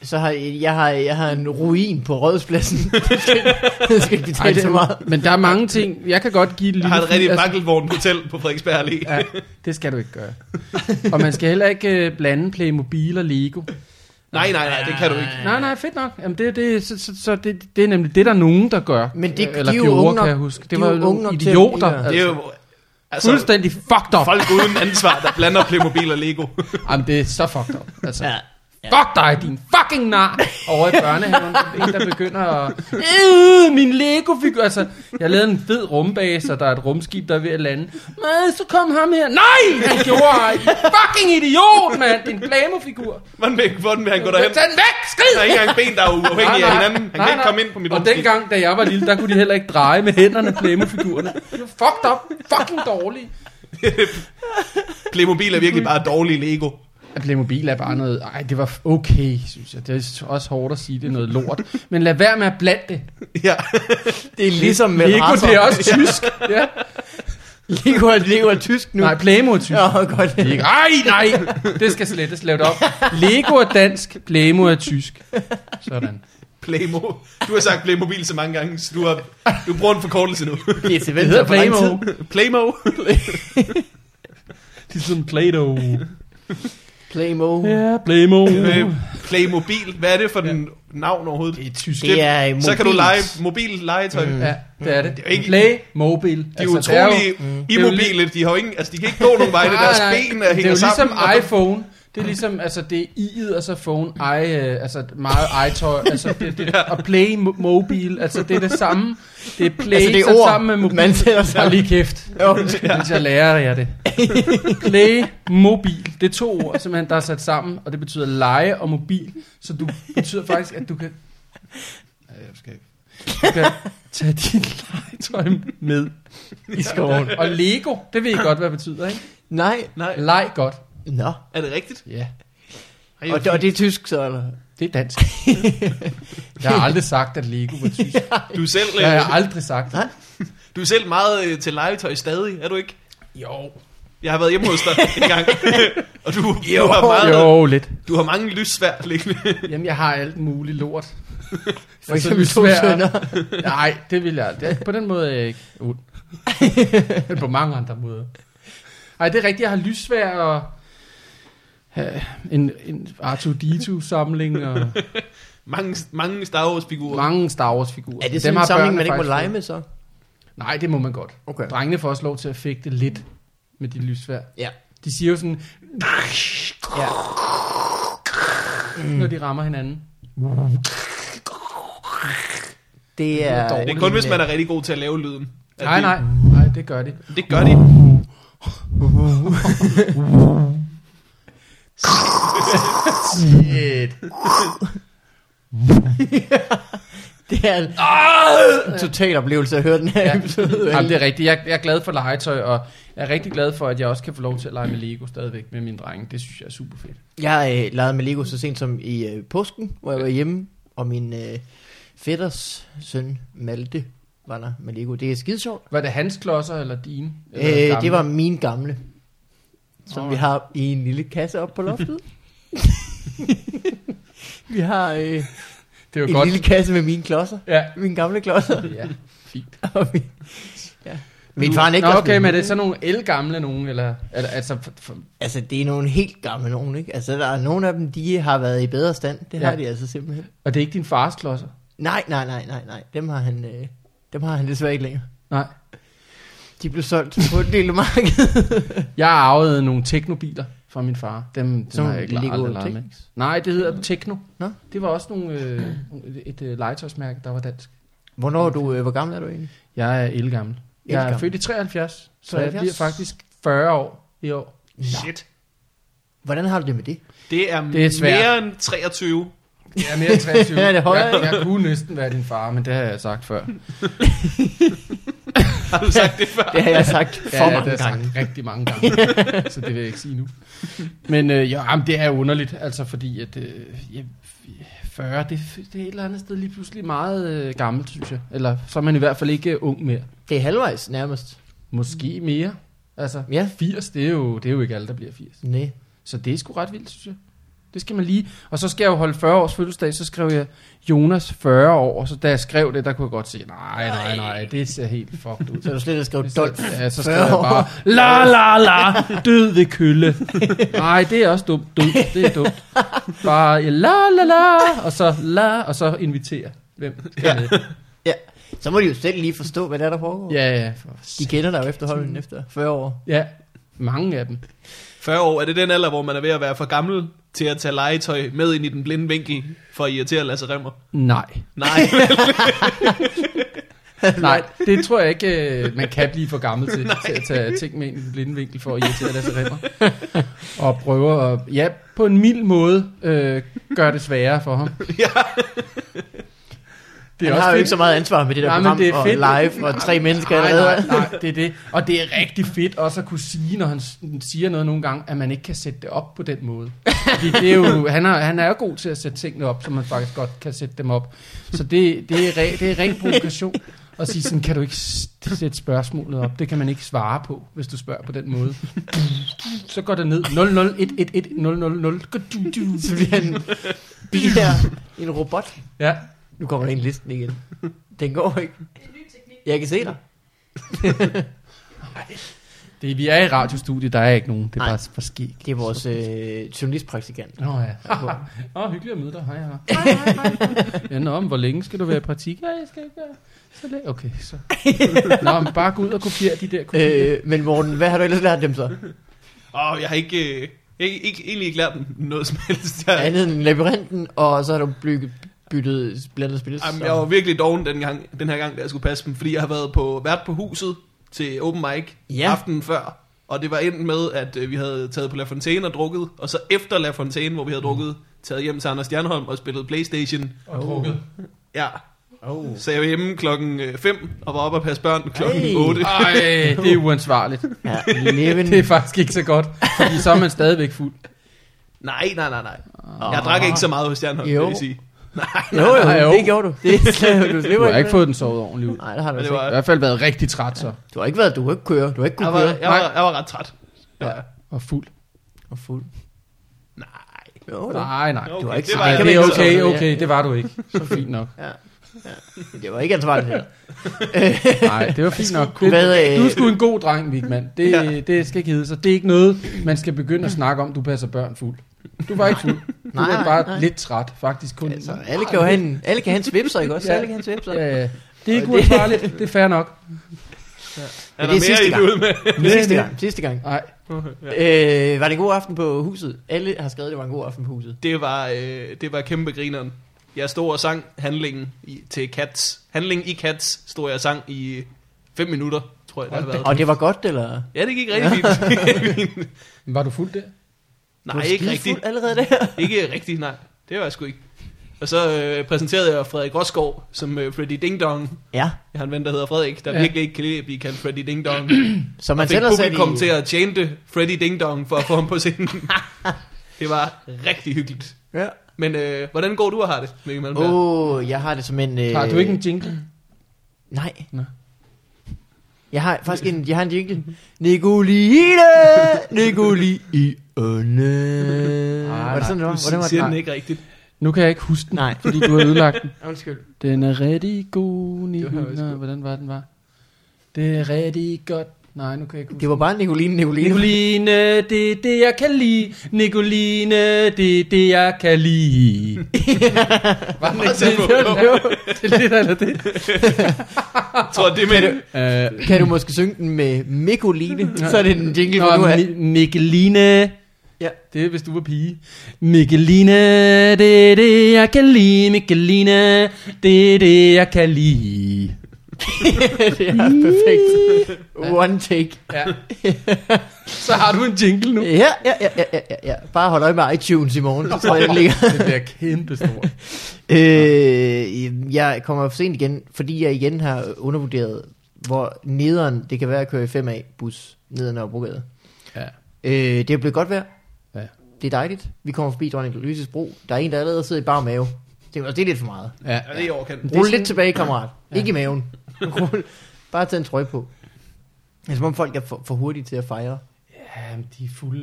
[SPEAKER 3] så har jeg, har, jeg har en ruin på Rådspladsen. det skal, ikke- det skal ikke
[SPEAKER 1] Ej,
[SPEAKER 3] betale så meget.
[SPEAKER 1] så, men der er mange ting. Jeg kan godt give et lille...
[SPEAKER 4] Jeg har et
[SPEAKER 1] fif-
[SPEAKER 4] rigtig
[SPEAKER 1] altså-
[SPEAKER 4] bakkelvogn hotel på Frederiksberg Allé. Ja.
[SPEAKER 1] Ja, det skal du ikke gøre. Og man skal heller ikke øh, blande Playmobil og Lego.
[SPEAKER 4] Nej, nej, nej, det kan du ikke.
[SPEAKER 1] Nej, nej, fedt nok. Jamen, det, det, så, så, så det, det er nemlig det, der er nogen, der gør.
[SPEAKER 3] Men det-
[SPEAKER 1] Eller
[SPEAKER 3] de er jo
[SPEAKER 1] gjorde,
[SPEAKER 3] unge nok-
[SPEAKER 1] kan jeg huske. Det
[SPEAKER 3] de er
[SPEAKER 1] var
[SPEAKER 3] jo
[SPEAKER 1] jo nogle
[SPEAKER 3] unge nok til, at
[SPEAKER 1] idioter.
[SPEAKER 3] det er-
[SPEAKER 4] Det
[SPEAKER 1] altså.
[SPEAKER 4] er jo
[SPEAKER 1] Altså, Fuldstændig fucked up.
[SPEAKER 4] Folk uden ansvar, der blander Playmobil og Lego.
[SPEAKER 1] Jamen, det er så fucked up. Altså.
[SPEAKER 3] Ja.
[SPEAKER 1] Fuck dig, din fucking nar! Over i børnehaven, en der begynder at... Øh, min Lego-figur! Altså, jeg lavede en fed rumbase, og der er et rumskib, der er ved at lande. Men så kom ham her. Nej, han gjorde! I fucking idiot, mand! Din Plamo-figur!
[SPEAKER 4] Hvordan vil, hvordan vil han gå
[SPEAKER 1] Tag
[SPEAKER 4] derhen?
[SPEAKER 1] den væk!
[SPEAKER 4] Der
[SPEAKER 1] Skrid!
[SPEAKER 4] er ikke engang ben, der er uafhængige af hinanden. Han kan
[SPEAKER 1] nej,
[SPEAKER 4] ikke komme ind på mit
[SPEAKER 1] Og
[SPEAKER 4] rumskib.
[SPEAKER 1] dengang, da jeg var lille, der kunne de heller ikke dreje med hænderne, Plamo-figurerne. Det var fucked up. Fucking dårlige.
[SPEAKER 4] Playmobil er
[SPEAKER 1] Mm.
[SPEAKER 4] virkelig bare dårlig Lego.
[SPEAKER 1] At Playmobil er bare noget... Ej, det var okay, synes jeg. Det er også hårdt at sige, det er noget lort. Men lad være med at blande det.
[SPEAKER 4] Ja.
[SPEAKER 3] Det er ligesom med
[SPEAKER 1] Lego,
[SPEAKER 3] racer.
[SPEAKER 1] det er også tysk. Ja.
[SPEAKER 3] Lego, er, Lego er tysk nu.
[SPEAKER 1] Nej, Playmo er tysk.
[SPEAKER 3] Nå, godt.
[SPEAKER 1] Lego. Ej, nej, det skal slettes lavet op. Lego er dansk, Playmo er tysk. Sådan.
[SPEAKER 4] Playmo. Du har sagt Playmobil så mange gange, så du, har, du bruger en forkortelse nu.
[SPEAKER 3] Det er til
[SPEAKER 1] Det hedder
[SPEAKER 3] venstre for lang tid.
[SPEAKER 1] Playmo.
[SPEAKER 4] Playmo.
[SPEAKER 1] Ligesom Play-Doh.
[SPEAKER 3] Playmo.
[SPEAKER 1] Ja, Playmo.
[SPEAKER 4] Øh, Playmobil. Hvad er det for den navn overhovedet? Det er tysk.
[SPEAKER 3] Det er mobilt. Altså,
[SPEAKER 4] Så kan du lege mobil legetøj. Mm.
[SPEAKER 1] Ja, det er det.
[SPEAKER 4] Det er jo ikke-
[SPEAKER 1] Playmobil.
[SPEAKER 4] De er
[SPEAKER 1] Altså, det jo-
[SPEAKER 4] utrolig immobile. De, har jo ingen, altså, de kan ikke gå nogen vej. Det
[SPEAKER 1] Nej,
[SPEAKER 4] deres
[SPEAKER 1] nej,
[SPEAKER 4] ben er
[SPEAKER 1] Det er jo
[SPEAKER 4] hænger sammen.
[SPEAKER 1] ligesom
[SPEAKER 4] og-
[SPEAKER 1] iPhone. Det er ligesom, altså det er i'et, og så phone, i, øh, altså meget i-tøj, altså det, det, og play mo- mobile, altså det er det samme. Det er play
[SPEAKER 3] Altså, det er
[SPEAKER 1] sat
[SPEAKER 3] ord,
[SPEAKER 1] sammen med mobil.
[SPEAKER 3] man sætter
[SPEAKER 1] Og
[SPEAKER 3] sammen.
[SPEAKER 1] lige kæft,
[SPEAKER 3] Jo.
[SPEAKER 1] mens jeg lærer jer det. Play, mobil, det er to ord, simpelthen, der er sat sammen, og det betyder lege og mobil, så du betyder faktisk, at du kan... Ej, Jeg skal ikke. Du kan tage dit legetøj med i skoven. Og Lego, det ved I godt, hvad det betyder, ikke?
[SPEAKER 3] Nej.
[SPEAKER 4] Nej,
[SPEAKER 1] Leg godt.
[SPEAKER 3] Nå.
[SPEAKER 4] er det rigtigt?
[SPEAKER 1] Ja,
[SPEAKER 4] Ej,
[SPEAKER 3] Og det, og det er tysk, så eller?
[SPEAKER 1] det er dansk. jeg har aldrig sagt, at Lego var tysk.
[SPEAKER 4] Du er selv, øh,
[SPEAKER 1] Jeg har aldrig sagt det.
[SPEAKER 4] du er selv meget øh, til legetøj stadig, er du ikke?
[SPEAKER 1] Jo.
[SPEAKER 4] Jeg har været hjemme hos dig en gang, og du, du, har meget,
[SPEAKER 1] Jo, lidt.
[SPEAKER 4] du har mange lyssvær liggende.
[SPEAKER 1] Jamen, jeg har alt muligt lort.
[SPEAKER 3] For eksempel to sønner.
[SPEAKER 1] Nej, det vil jeg. Det, på den måde er jeg ikke ond. Men på mange andre måder. Nej, det er rigtigt. Jeg har lysvær og øh, en, en R2-D2-samling og
[SPEAKER 4] Mange, mange Star Wars-figurer.
[SPEAKER 1] mange Star Wars-figurer.
[SPEAKER 3] Er det sådan en
[SPEAKER 1] har
[SPEAKER 3] samling,
[SPEAKER 1] børnene
[SPEAKER 3] man ikke må
[SPEAKER 1] faktisk
[SPEAKER 3] lege
[SPEAKER 1] fået.
[SPEAKER 3] med så?
[SPEAKER 1] Nej, det må man godt.
[SPEAKER 3] Okay.
[SPEAKER 1] Drengene får også lov til at fægte lidt med de lysvær.
[SPEAKER 3] Ja.
[SPEAKER 1] De siger jo sådan,
[SPEAKER 3] ja.
[SPEAKER 1] når de rammer hinanden.
[SPEAKER 3] Det er...
[SPEAKER 1] dårligt.
[SPEAKER 4] Det er kun, hvis man er rigtig god til at lave lyden. At
[SPEAKER 1] øh, Nej,
[SPEAKER 4] det-
[SPEAKER 1] nej, nej, det gør de.
[SPEAKER 4] Det gør de.
[SPEAKER 3] Shit. det er en total oplevelse at høre den her
[SPEAKER 1] Ah! Ja.
[SPEAKER 3] episode.
[SPEAKER 1] Jamen, det er rigtigt. Jeg, jeg er glad for legetøj, og jeg er rigtig glad for, at jeg også kan få lov til at lege med Lego stadigvæk med mine drenge. Det synes jeg er super fedt.
[SPEAKER 3] Jeg øh, legede med Lego så sent som i øh, påsken, hvor jeg var hjemme, og min øh, fætters søn Malte var der med Lego. Det er skide sjovt.
[SPEAKER 1] Var det hans klodser eller dine? Eller
[SPEAKER 3] Øh, det
[SPEAKER 1] gamle?
[SPEAKER 3] var min gamle, som vi har i en lille kasse oppe på loftet. vi har øh, en
[SPEAKER 1] det var godt.
[SPEAKER 3] lille kasse med mine klodser.
[SPEAKER 1] Ja.
[SPEAKER 3] Mine gamle klodser.
[SPEAKER 1] ja, fint.
[SPEAKER 3] Og min, ja. Min far
[SPEAKER 1] Nå,
[SPEAKER 3] ikke
[SPEAKER 1] okay, men er det sådan nogle elgamle nogen? Eller, eller, altså, for, for,
[SPEAKER 3] Altså, det er nogle helt gamle nogen, ikke? Altså, der er nogle af dem, de har været i bedre stand. Det
[SPEAKER 1] Ja.
[SPEAKER 3] har de altså simpelthen.
[SPEAKER 1] og det er ikke din fars klodser?
[SPEAKER 3] Nej, nej, nej, nej, nej. Dem har han, øh, dem har han desværre ikke længere.
[SPEAKER 1] Nej.
[SPEAKER 3] De blev solgt på et lille marked.
[SPEAKER 1] Jeg arvede nogle teknobiler fra min far. Dem, dem
[SPEAKER 3] Sådan
[SPEAKER 1] har jeg ikke
[SPEAKER 3] Lego
[SPEAKER 1] aldrig leget med.
[SPEAKER 3] Technics?
[SPEAKER 1] Nej, det hedder Tekno.
[SPEAKER 3] Nå.
[SPEAKER 1] Det var også nogle, øh, et, et øh, legetøjsmærke, der var dansk.
[SPEAKER 3] Hvornår er du, øh, hvor gammel er du egentlig?
[SPEAKER 1] Jeg er elgammel. Jeg er
[SPEAKER 3] Ældgammel.
[SPEAKER 1] født i 73, så
[SPEAKER 3] 73?
[SPEAKER 1] jeg bliver faktisk 40 år i år.
[SPEAKER 4] Shit.
[SPEAKER 3] Hvordan har du det med det?
[SPEAKER 4] Det er,
[SPEAKER 1] Det er svært.
[SPEAKER 4] mere end 23.
[SPEAKER 1] Jeg er mere end 23.
[SPEAKER 3] Ja, det holder
[SPEAKER 1] jeg, jeg kunne næsten være din far, men det har jeg sagt før.
[SPEAKER 4] Har du sagt det før?
[SPEAKER 3] Det har jeg sagt for ja, mange
[SPEAKER 1] det har jeg
[SPEAKER 3] gange.
[SPEAKER 1] Sagt rigtig mange gange, så det vil jeg ikke sige nu. Men øh, ja, jamen, det er underligt, altså fordi at øh, ja, 40, det, det er et eller andet sted lige pludselig meget øh, gammelt, synes jeg. Eller så er man i hvert fald ikke øh, ung mere.
[SPEAKER 3] Det er halvvejs nærmest.
[SPEAKER 1] Måske mere. Altså,
[SPEAKER 3] Ja.
[SPEAKER 1] 80, det er, jo, det er jo ikke alle, der bliver 80.
[SPEAKER 3] Nej.
[SPEAKER 1] Så det er sgu ret vildt, synes jeg. Det skal man lige. Og så skal jeg jo holde 40 års fødselsdag, så skrev jeg Jonas 40 år, så da jeg skrev det, der kunne jeg godt se, nej, nej, nej, det ser helt fucked ud.
[SPEAKER 3] Så er du slet ikke skrevet
[SPEAKER 1] Det
[SPEAKER 3] Dolf.
[SPEAKER 1] ser- Ja, så skrev jeg
[SPEAKER 3] 40 år.
[SPEAKER 1] bare, la la la, død ved kølle. Nej, det er også dumt, død, det er dumt. Bare ja, la la la, og så la, og så inviterer. Hvem skal med?
[SPEAKER 3] Ja. Så må de jo selv lige forstå, hvad der, er, der foregår.
[SPEAKER 1] Ja, ja. For
[SPEAKER 3] De kender dig jo efterhånden efter 40 år.
[SPEAKER 1] Ja, mange af dem.
[SPEAKER 4] 40 år, er det den alder, hvor man er ved at være for gammel til at tage legetøj med ind i den blinde vinkel for at irritere Lasse Remmer?
[SPEAKER 1] Nej,
[SPEAKER 4] Nej,
[SPEAKER 1] nej, det tror jeg ikke, øh, man kan blive for gammel til, til at tage ting med ind i den blinde vinkel for at irritere deres remmer. Og prøve at, ja, på en mild måde, øh, gøre det sværere for ham. Ja.
[SPEAKER 3] Det er han har jo ikke så meget ansvar med det der
[SPEAKER 1] Nej, men
[SPEAKER 3] program
[SPEAKER 1] det er
[SPEAKER 3] og
[SPEAKER 1] fedt.
[SPEAKER 3] live og tre mennesker
[SPEAKER 1] nej,
[SPEAKER 3] allerede.
[SPEAKER 1] nej, nej, det er det. Og det er rigtig fedt også at kunne sige, når han s- siger noget nogle gange, at man ikke kan sætte det op på den måde. Fordi det er jo, han, er, han er jo god til at sætte tingene op, så man faktisk godt kan sætte dem op. Så det, det, er, re, det er ren provokation at sige sådan, kan du ikke s- sætte spørgsmålet op? Det kan man ikke svare på, hvis du spørger på den måde. Så går det ned. 00111000.
[SPEAKER 3] Så bliver han biler en robot.
[SPEAKER 1] Ja,
[SPEAKER 3] Nu kommer der en listen igen. Den går ikke.
[SPEAKER 6] En ny teknik.
[SPEAKER 3] Jeg kan se dig.
[SPEAKER 1] det, vi er i radiostudiet, der er ikke nogen. Det er
[SPEAKER 3] Nej.
[SPEAKER 1] bare for skæg.
[SPEAKER 3] Det er vores øh, journalistpraktikant.
[SPEAKER 1] Nå ja. Åh, oh, hyggeligt at møde dig. Hej, hej. Ja, nå, men hvor længe skal du være i praktik? Ja, jeg skal ikke være så længe. Okay, så. Nå, men bare gå ud og kopiere de der kopier. Øh.
[SPEAKER 3] Øh, men Morten, hvad har du ellers lært dem så?
[SPEAKER 4] Åh, jeg har ikke, øh, ikke, ikke, egentlig ikke lært dem noget som helst. Jeg,
[SPEAKER 3] Andet end labyrinten, og så har du bygget, byttet blandet spil.
[SPEAKER 4] Jamen, jeg var virkelig doven den, gang, den her gang, da jeg skulle passe dem, fordi jeg har været på vært på huset til open mic
[SPEAKER 3] Ja.
[SPEAKER 4] aftenen før. Og det var endt med, at øh, vi havde taget på La Fontaine og drukket, og så efter La Fontaine, hvor vi
[SPEAKER 3] Mm.
[SPEAKER 4] havde drukket, taget hjem til Anders Stjernholm og spillet Playstation.
[SPEAKER 2] Og
[SPEAKER 1] oh.
[SPEAKER 2] drukket.
[SPEAKER 4] Ja,
[SPEAKER 3] Oh.
[SPEAKER 4] så jeg var hjemme klokken 5 og var oppe og passe børn klokken
[SPEAKER 3] Ej. Ah.
[SPEAKER 4] 8.
[SPEAKER 1] Ej, det er uansvarligt.
[SPEAKER 3] Ja, Leven.
[SPEAKER 1] Det er faktisk ikke så godt, fordi så er man stadigvæk fuld.
[SPEAKER 4] Nej, nej, nej, nej. Jeg drak ikke så meget hos Stjernholm,
[SPEAKER 3] Jo.
[SPEAKER 4] vil jeg sige.
[SPEAKER 3] Jo, jo,
[SPEAKER 1] Nej, jo.
[SPEAKER 3] det gjorde du. Det slipper du
[SPEAKER 1] Du
[SPEAKER 3] slipper
[SPEAKER 1] har ikke fået den sovet ordentligt ud.
[SPEAKER 3] Nej, det har du
[SPEAKER 4] Men det
[SPEAKER 3] altså ikke.
[SPEAKER 1] I
[SPEAKER 4] var,
[SPEAKER 1] hvert fald været rigtig træt så,
[SPEAKER 3] Du har ikke været, du har ikke køre. Du har ikke
[SPEAKER 4] jeg,
[SPEAKER 3] kunnet
[SPEAKER 4] var,
[SPEAKER 3] køre.
[SPEAKER 4] jeg, var, jeg var ret træt.
[SPEAKER 1] og fuld.
[SPEAKER 3] Og fuld.
[SPEAKER 4] Nej.
[SPEAKER 3] Jo, jo.
[SPEAKER 1] Nej, nej.
[SPEAKER 3] Du har ikke
[SPEAKER 4] det
[SPEAKER 3] sagt-
[SPEAKER 4] var
[SPEAKER 1] Nej,
[SPEAKER 4] jeg
[SPEAKER 1] det er
[SPEAKER 4] ikke så-
[SPEAKER 1] okay, okay, det var du ikke. Så fint nok.
[SPEAKER 3] Altså, Det var ikke ansvarligt heller.
[SPEAKER 1] Nej, det var fint nok. Det,
[SPEAKER 3] Hvad, øh,
[SPEAKER 1] du er sgu en god dreng, Vigman. Det,
[SPEAKER 4] Ja.
[SPEAKER 1] det skal ikke hedde sig. Det er ikke noget, man skal begynde at snakke om, du passer børn fuld. Du var ikke fuld. Du
[SPEAKER 3] Nej,
[SPEAKER 1] var
[SPEAKER 3] nej,
[SPEAKER 1] bare
[SPEAKER 3] nej.
[SPEAKER 1] lidt træt, faktisk kun.
[SPEAKER 3] Altså, alle kan jo have en, alle kan have en svipser, ikke også?
[SPEAKER 1] Ja.
[SPEAKER 3] Alle kan have en svipser.
[SPEAKER 1] Ja, ja. det er ikke
[SPEAKER 3] Og det-
[SPEAKER 1] uansvarligt. Det er fair nok.
[SPEAKER 4] Er
[SPEAKER 3] det er sidste
[SPEAKER 4] der mere, I
[SPEAKER 3] gang.
[SPEAKER 4] vil ud med?
[SPEAKER 3] Sidste gang, sidste gang.
[SPEAKER 1] Nej,
[SPEAKER 3] Øh, var det en god aften på huset? Alle har skrevet, at det var en god aften på huset.
[SPEAKER 4] Det var, øh, det var kæmpe grineren. Jeg stod og sang handlingen i, til Cats. Handlingen i Cats stod jeg og sang i 5 minutter, tror jeg, det har været.
[SPEAKER 3] Og det var godt, eller?
[SPEAKER 4] Ja, det gik rigtig fint.
[SPEAKER 1] Men var du fuld der?
[SPEAKER 3] Du
[SPEAKER 4] nej,
[SPEAKER 3] var
[SPEAKER 4] ikke
[SPEAKER 3] skidefuld
[SPEAKER 4] rigtigt.
[SPEAKER 3] allerede der.
[SPEAKER 4] Ikke rigtigt, nej. Det var jeg sgu ikke. Og så øh, præsenterede jeg Frederik Rosgaard som øh, Freddy Ding Dong.
[SPEAKER 3] Ja,
[SPEAKER 4] Jeg har en ven, der hedder Frederik, der
[SPEAKER 1] Ja.
[SPEAKER 4] ja. virkelig ikke kan lide at blive kaldt Freddy Ding Dong.
[SPEAKER 3] så man
[SPEAKER 4] fik
[SPEAKER 3] selv har sat
[SPEAKER 4] publikum til
[SPEAKER 3] i...
[SPEAKER 4] at chante Freddy Ding Dong for at få ham på scenen. det var rigtig hyggeligt.
[SPEAKER 3] Ja.
[SPEAKER 4] Men øh, hvordan går du og har det, Mikkel Malmberg?
[SPEAKER 3] Åh, oh, jeg har det som en... Øh...
[SPEAKER 1] Har du ikke en jingle?
[SPEAKER 3] Nej.
[SPEAKER 1] Nå.
[SPEAKER 3] Jeg har faktisk en, jeg har en jingle. Nicoline, Nicoline. Var det sådan, det var? Hvordan var
[SPEAKER 4] Siger
[SPEAKER 3] det?
[SPEAKER 4] den
[SPEAKER 3] Nej.
[SPEAKER 4] ikke rigtigt?
[SPEAKER 1] Nu kan jeg ikke huske den,
[SPEAKER 3] Nej.
[SPEAKER 1] fordi du har ødelagt den.
[SPEAKER 3] Undskyld.
[SPEAKER 1] Den er rigtig god,
[SPEAKER 4] var også
[SPEAKER 1] Nicolina.
[SPEAKER 4] god.
[SPEAKER 1] Hvordan var den var? Det er rigtig godt. Nej, nu kan jeg ikke huske
[SPEAKER 3] Det var bare Nicoline, Nicoline.
[SPEAKER 1] Nicoline, det er det, jeg kan lide. Nicoline, det er det, jeg kan lide. Var den ikke
[SPEAKER 4] tæt på?
[SPEAKER 1] Det er lidt eller det.
[SPEAKER 4] Jeg tror, det er med...
[SPEAKER 1] Uh,
[SPEAKER 3] Kan du måske synge den med Nicoline? Så er det en jingle, hvor du
[SPEAKER 1] Nå,
[SPEAKER 3] er.
[SPEAKER 1] Mi- Nicoline.
[SPEAKER 3] Ja.
[SPEAKER 1] Det er, hvis du var pige. Nicoline, det er det, jeg kan lide. Nicoline, det er det, jeg kan lide.
[SPEAKER 3] det er perfekt. One take.
[SPEAKER 1] Ja. Så har du en jingle nu.
[SPEAKER 3] Øh, Ja, ja, ja, ja, ja, ja, ja. Bare hold øje med iTunes i morgen. Så tror jeg, den ligger.
[SPEAKER 1] Det bliver kæmpestort.
[SPEAKER 3] Øh, jeg kommer for sent igen, fordi jeg igen har undervurderet, hvor nederen det kan være at køre i 5A bus ned ad Nørrebrogade.
[SPEAKER 1] Ja.
[SPEAKER 3] Øh, det er blevet godt vejr.
[SPEAKER 1] Ja.
[SPEAKER 3] Det er dejligt. Vi kommer forbi Dronning Louise's bro. Der er en, der allerede sidder i bar mave. Det, er- det er lidt for meget.
[SPEAKER 1] Ja.
[SPEAKER 4] Ja, det er i overkanten.
[SPEAKER 3] Rul lidt tilbage, kammerat. Ja. Ikke i maven. Rul. Bare tag en trøje på. Det er som om folk er for, for hurtige til at fejre.
[SPEAKER 1] Ja, men de er fulde.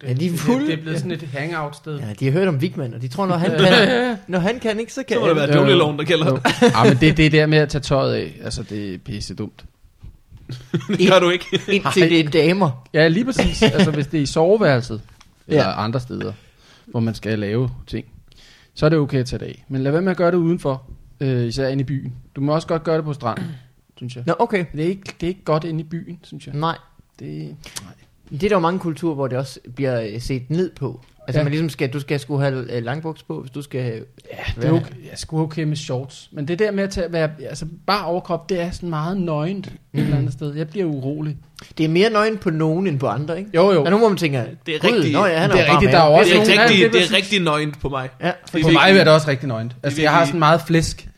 [SPEAKER 1] Det,
[SPEAKER 3] Ja, de er fulde.
[SPEAKER 1] Det, det er blevet sådan et hangout-sted.
[SPEAKER 3] Ja, de har hørt om Vigman, og de tror, når han kan, når han kan ikke, så kan
[SPEAKER 4] Så må det være
[SPEAKER 1] Øh,
[SPEAKER 4] djungleloven, der gælder.
[SPEAKER 1] Jo. Ah, men det, det er der med at tage tøjet af. Altså, det er pisse dumt.
[SPEAKER 4] Det gør du ikke.
[SPEAKER 3] indtil det er damer.
[SPEAKER 1] Ja, lige præcis. Altså, hvis det er i soveværelset, eller
[SPEAKER 3] Ja.
[SPEAKER 1] ja. andre steder, hvor man skal lave ting, så er det okay at tage det af. Men lad være med at gøre det udenfor. øh, især inde i byen. Du må også godt gøre det på stranden, synes jeg.
[SPEAKER 3] Nå, okay.
[SPEAKER 1] Det er, ikke, det er ikke godt inde i byen, synes jeg.
[SPEAKER 3] Nej.
[SPEAKER 1] Det,
[SPEAKER 3] Men Det er der jo mange kulturer, hvor det også bliver øh, set ned på.
[SPEAKER 1] Ja.
[SPEAKER 3] Altså ja. man ligesom skal, du skal skulle have øh, langbuks på, hvis du skal have...
[SPEAKER 1] ja, det er okay. Jeg er sgu okay med shorts. Men det der med at tage, være, altså bare overkrop, det er sådan meget nøgent et eller andet sted. Jeg bliver urolig.
[SPEAKER 3] Det er mere nøgen på nogen end på andre, ikke?
[SPEAKER 1] Jo, jo.
[SPEAKER 3] Der er nogen, hvor man tænker,
[SPEAKER 4] Det er
[SPEAKER 3] "Gud,
[SPEAKER 4] rigtigt.
[SPEAKER 3] Nå, ja, han
[SPEAKER 1] Det er
[SPEAKER 3] jo varm
[SPEAKER 1] rigtigt, der er
[SPEAKER 3] mave."
[SPEAKER 1] jo også
[SPEAKER 4] Det er,
[SPEAKER 1] nogen- Ja, det er
[SPEAKER 4] rigtig, det er
[SPEAKER 1] præcis.
[SPEAKER 4] rigtig nøjent på mig.
[SPEAKER 3] Ja,
[SPEAKER 1] For mig er det også rigtig nøgent. Altså, jeg har
[SPEAKER 4] virkelig-
[SPEAKER 1] sådan meget flæsk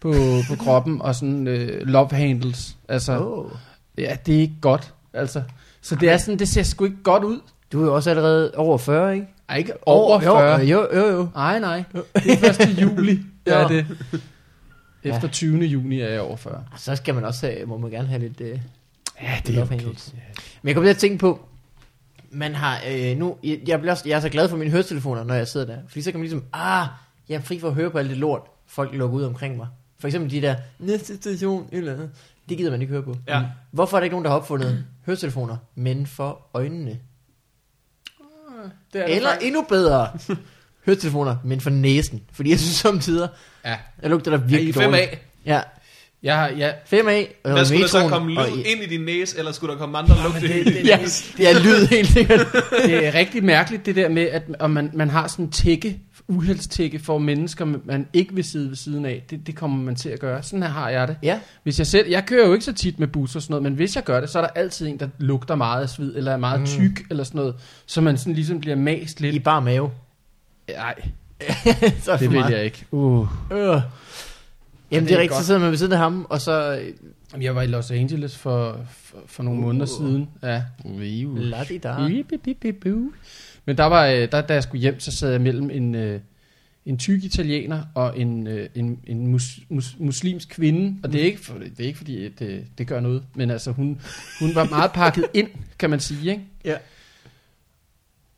[SPEAKER 1] på, på kroppen, og sådan øh, love handles. Altså,
[SPEAKER 3] oh.
[SPEAKER 1] ja, det er ikke godt. Altså, så det er sådan, det ser sgu ikke godt ud.
[SPEAKER 3] Du er jo også allerede over 40, ikke?
[SPEAKER 1] Ej, ikke over
[SPEAKER 3] jo,
[SPEAKER 1] 40.
[SPEAKER 3] Jo, jo, jo.
[SPEAKER 1] Nej, nej. Det er først i juli, der
[SPEAKER 3] Ja.
[SPEAKER 1] er det. Efter 20. juni er jeg over 40.
[SPEAKER 3] Så skal man også have, må man gerne have lidt... Øh,
[SPEAKER 1] Ja,
[SPEAKER 3] det er okay. Men jeg kom til at tænke på, man har øh, nu, jeg, jeg, bliver også, jeg er så glad for mine høretelefoner, når jeg sidder der. Fordi så kan man ligesom, ah, jeg er fri for at høre på alt det lort, folk lukker ud omkring mig. For eksempel de der, næste station, eller andet. Det gider man ikke høre på.
[SPEAKER 4] Ja.
[SPEAKER 3] Hvorfor er der ikke nogen, der har opfundet høretelefoner, men for øjnene?
[SPEAKER 1] Det er
[SPEAKER 3] Eller
[SPEAKER 1] faktisk.
[SPEAKER 3] endnu bedre, høretelefoner, men for næsen. Fordi jeg synes samtider,
[SPEAKER 1] Ja.
[SPEAKER 3] jeg lugter der
[SPEAKER 4] I
[SPEAKER 3] virkelig
[SPEAKER 4] 5
[SPEAKER 3] dårligt.
[SPEAKER 4] af.
[SPEAKER 3] Ja,
[SPEAKER 1] Jeg har, ja,
[SPEAKER 3] 5 af. Og
[SPEAKER 4] Der skulle der så
[SPEAKER 3] metroen,
[SPEAKER 4] komme
[SPEAKER 3] og
[SPEAKER 4] lyd
[SPEAKER 3] i-
[SPEAKER 4] ind i din næse, eller skulle der komme andre lugte ind i din
[SPEAKER 3] Ja, det er lyd helt sikkert.
[SPEAKER 1] det er rigtig mærkeligt det der med, at om man, man har sådan tække, uheldstække for mennesker, man ikke vil sidde ved siden af. Det, det kommer man til at gøre. Sådan her har jeg det.
[SPEAKER 3] Ja,
[SPEAKER 1] Hvis jeg selv, jeg kører jo ikke så tit med busser og sådan noget, men hvis jeg gør det, så er der altid en, der lugter meget af sved, eller er meget mm. tyk, eller sådan noget, så man sådan ligesom bliver mast
[SPEAKER 3] i
[SPEAKER 1] lidt.
[SPEAKER 3] bare mave.
[SPEAKER 1] Nej,
[SPEAKER 3] så er
[SPEAKER 1] det vil
[SPEAKER 3] meget.
[SPEAKER 1] jeg ikke. Uh.
[SPEAKER 3] Øh. Jamen,
[SPEAKER 1] det
[SPEAKER 3] det
[SPEAKER 1] er
[SPEAKER 3] er rigtigt,
[SPEAKER 1] godt.
[SPEAKER 3] så sidder man ved siden af ham, og så... øh,
[SPEAKER 1] Jamen, Jeg var i Los Angeles for, for, for nogle uh. måneder siden. Ja. Uh.
[SPEAKER 3] Ladidada.
[SPEAKER 1] Ibibibibu. Men der var, øh, der, da jeg skulle hjem, så sad jeg mellem en, øh, en tyk italiener og en, øh, en, en mus, mus, muslimsk kvinde. Og det er ikke, for, det er ikke fordi, at det, det gør noget. Men altså, hun, hun var meget pakket ind, kan man sige, ikke?
[SPEAKER 3] Ja.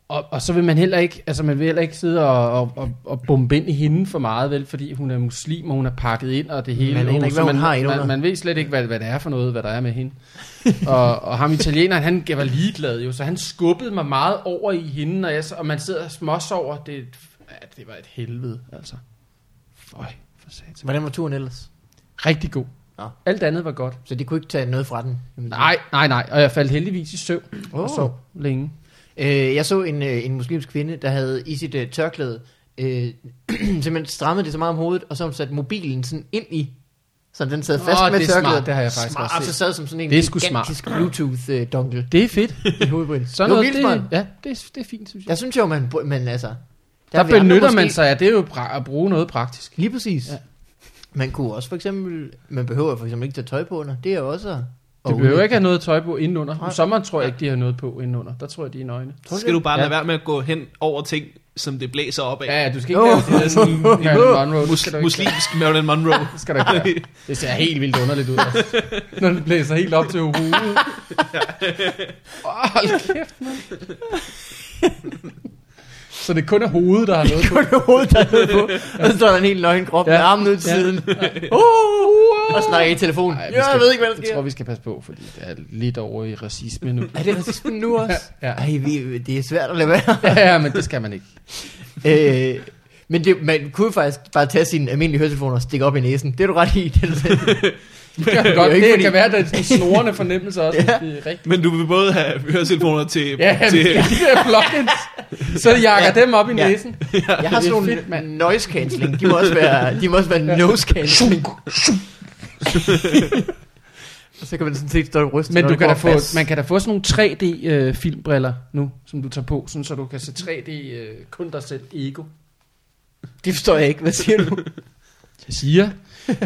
[SPEAKER 1] Og, og så vil man heller ikke, altså man vil heller ikke sidde og, og, og, og bombe ind i hende for meget, vel? Fordi hun er muslim, og hun er pakket ind, og det hele.
[SPEAKER 3] Man aner ikke,
[SPEAKER 1] Og
[SPEAKER 3] hvad
[SPEAKER 1] så
[SPEAKER 3] hun har inde under.
[SPEAKER 1] man, man ved slet ikke, hvad, hvad det er for noget, hvad der er med hende. og, og ham italieneren, han var ligeglad jo, så han skubbede mig meget over i hende, og, jeg, så- og man sidder og småsover. Det, er et- ja, det var et helvede, altså. Føj, for satan.
[SPEAKER 3] Hvordan var turen ellers?
[SPEAKER 1] Rigtig god.
[SPEAKER 3] Nå.
[SPEAKER 1] Alt andet var godt.
[SPEAKER 3] Så de kunne ikke tage noget fra den? kan man sige.
[SPEAKER 1] Nej, nej, nej. Og jeg faldt heldigvis i søvn og
[SPEAKER 3] Åh.
[SPEAKER 1] sov længe.
[SPEAKER 3] Øh, jeg så en, øh, en muslimsk kvinde, der havde i sit øh, tørklæde øh, simpelthen strammet det så meget om hovedet, og så har hun sat mobilen sådan ind i, så den sad
[SPEAKER 1] Nå,
[SPEAKER 3] fast med
[SPEAKER 1] det er smart,
[SPEAKER 3] tørklædet.
[SPEAKER 1] det har jeg faktisk
[SPEAKER 3] smart,
[SPEAKER 1] også set.
[SPEAKER 3] så sad som sådan en
[SPEAKER 1] Det er sgu
[SPEAKER 3] gigantisk Bluetooth-dongle
[SPEAKER 1] Det er fedt.
[SPEAKER 3] i hovedet på hende.
[SPEAKER 1] Sådan
[SPEAKER 3] Det var
[SPEAKER 1] noget,
[SPEAKER 3] vildt, mand.
[SPEAKER 1] det, ja, det, er, det er fint, synes jeg.
[SPEAKER 3] Jeg synes jo, man, man altså...
[SPEAKER 1] Der,
[SPEAKER 3] er vi andre
[SPEAKER 1] der benytter man
[SPEAKER 3] måske-
[SPEAKER 1] sig af, det er jo pra- at bruge noget praktisk.
[SPEAKER 3] Lige præcis.
[SPEAKER 1] Ja.
[SPEAKER 3] Ja. Man kunne også for eksempel, man behøver for eksempel ikke tage tøj på under. Det er jo også...
[SPEAKER 1] Du
[SPEAKER 3] og-
[SPEAKER 1] behøver ikke have noget tøj på indenunder. Om
[SPEAKER 3] Nej.
[SPEAKER 1] sommeren tror jeg ikke, de har noget på indenunder. Der tror jeg, de er nøgne.
[SPEAKER 4] Så skal du bare lade
[SPEAKER 1] Ja.
[SPEAKER 4] være med at gå hen over ting, som det blæser op af.
[SPEAKER 1] Ja, ja, du skal ikke
[SPEAKER 3] Åh.
[SPEAKER 1] lave det der sådan Marilyn Monroe. Det skal du
[SPEAKER 4] Mus-
[SPEAKER 1] ikke
[SPEAKER 4] muslimsk Marilyn Monroe.
[SPEAKER 1] Det skal du ikke gøre. Det ser helt vildt underligt ud, altså. Når den blæser helt op til hovedet. Åh, hold kæft, man. Så det kun er hovedet, der har noget på.
[SPEAKER 3] Kun hovedet der er noget på, og så står der en helt nøgen krop ja. med
[SPEAKER 1] Ja.
[SPEAKER 3] armen ud til
[SPEAKER 1] Ja.
[SPEAKER 3] siden,
[SPEAKER 1] Uh,
[SPEAKER 3] og snakker i telefonen.
[SPEAKER 1] Ej,
[SPEAKER 3] Ej,
[SPEAKER 1] vi
[SPEAKER 3] ja,
[SPEAKER 1] skal-
[SPEAKER 3] jeg ved ikke, hvad der
[SPEAKER 1] Jeg tror,
[SPEAKER 3] sker.
[SPEAKER 1] vi skal passe på, fordi det er lidt over i racisme nu.
[SPEAKER 3] Er det racisme nu også?
[SPEAKER 1] Ja, ja.
[SPEAKER 3] Ej, vi, det er svært at lade være.
[SPEAKER 1] Ja, ja, men det skal man ikke.
[SPEAKER 3] øh, men det, man kunne jo faktisk bare tage sine almindelige høretelefoner og stikke op i næsen. Det er du ret i. Det er det.
[SPEAKER 1] Det, kan,
[SPEAKER 3] Det er jo
[SPEAKER 1] godt,
[SPEAKER 3] ikke
[SPEAKER 1] det
[SPEAKER 3] fordi-
[SPEAKER 1] kan være, at der er sådan en snorende fornemmelse også, ja. det er rigtigt.
[SPEAKER 4] Men du vil både have høretelefoner til...
[SPEAKER 1] Ja,
[SPEAKER 4] til
[SPEAKER 1] det er plugins. Så jakker dem op i
[SPEAKER 3] Ja.
[SPEAKER 1] næsen.
[SPEAKER 3] Jeg har
[SPEAKER 1] Det er
[SPEAKER 3] sådan nogle
[SPEAKER 1] fedt, mand.
[SPEAKER 3] noise cancelling. De må også være, de må også være nose cancelling. Og så kan man sådan set stå og ryste.
[SPEAKER 1] Men
[SPEAKER 3] når
[SPEAKER 1] du
[SPEAKER 3] det
[SPEAKER 1] kan da
[SPEAKER 3] går
[SPEAKER 1] få,
[SPEAKER 3] fast.
[SPEAKER 1] man kan da få sådan nogle 3D-filmbriller nu, som du tager på, sådan, så du kan se 3D øh, kun dig selv ego.
[SPEAKER 3] Det forstår jeg ikke. Hvad siger du?
[SPEAKER 1] Jeg siger,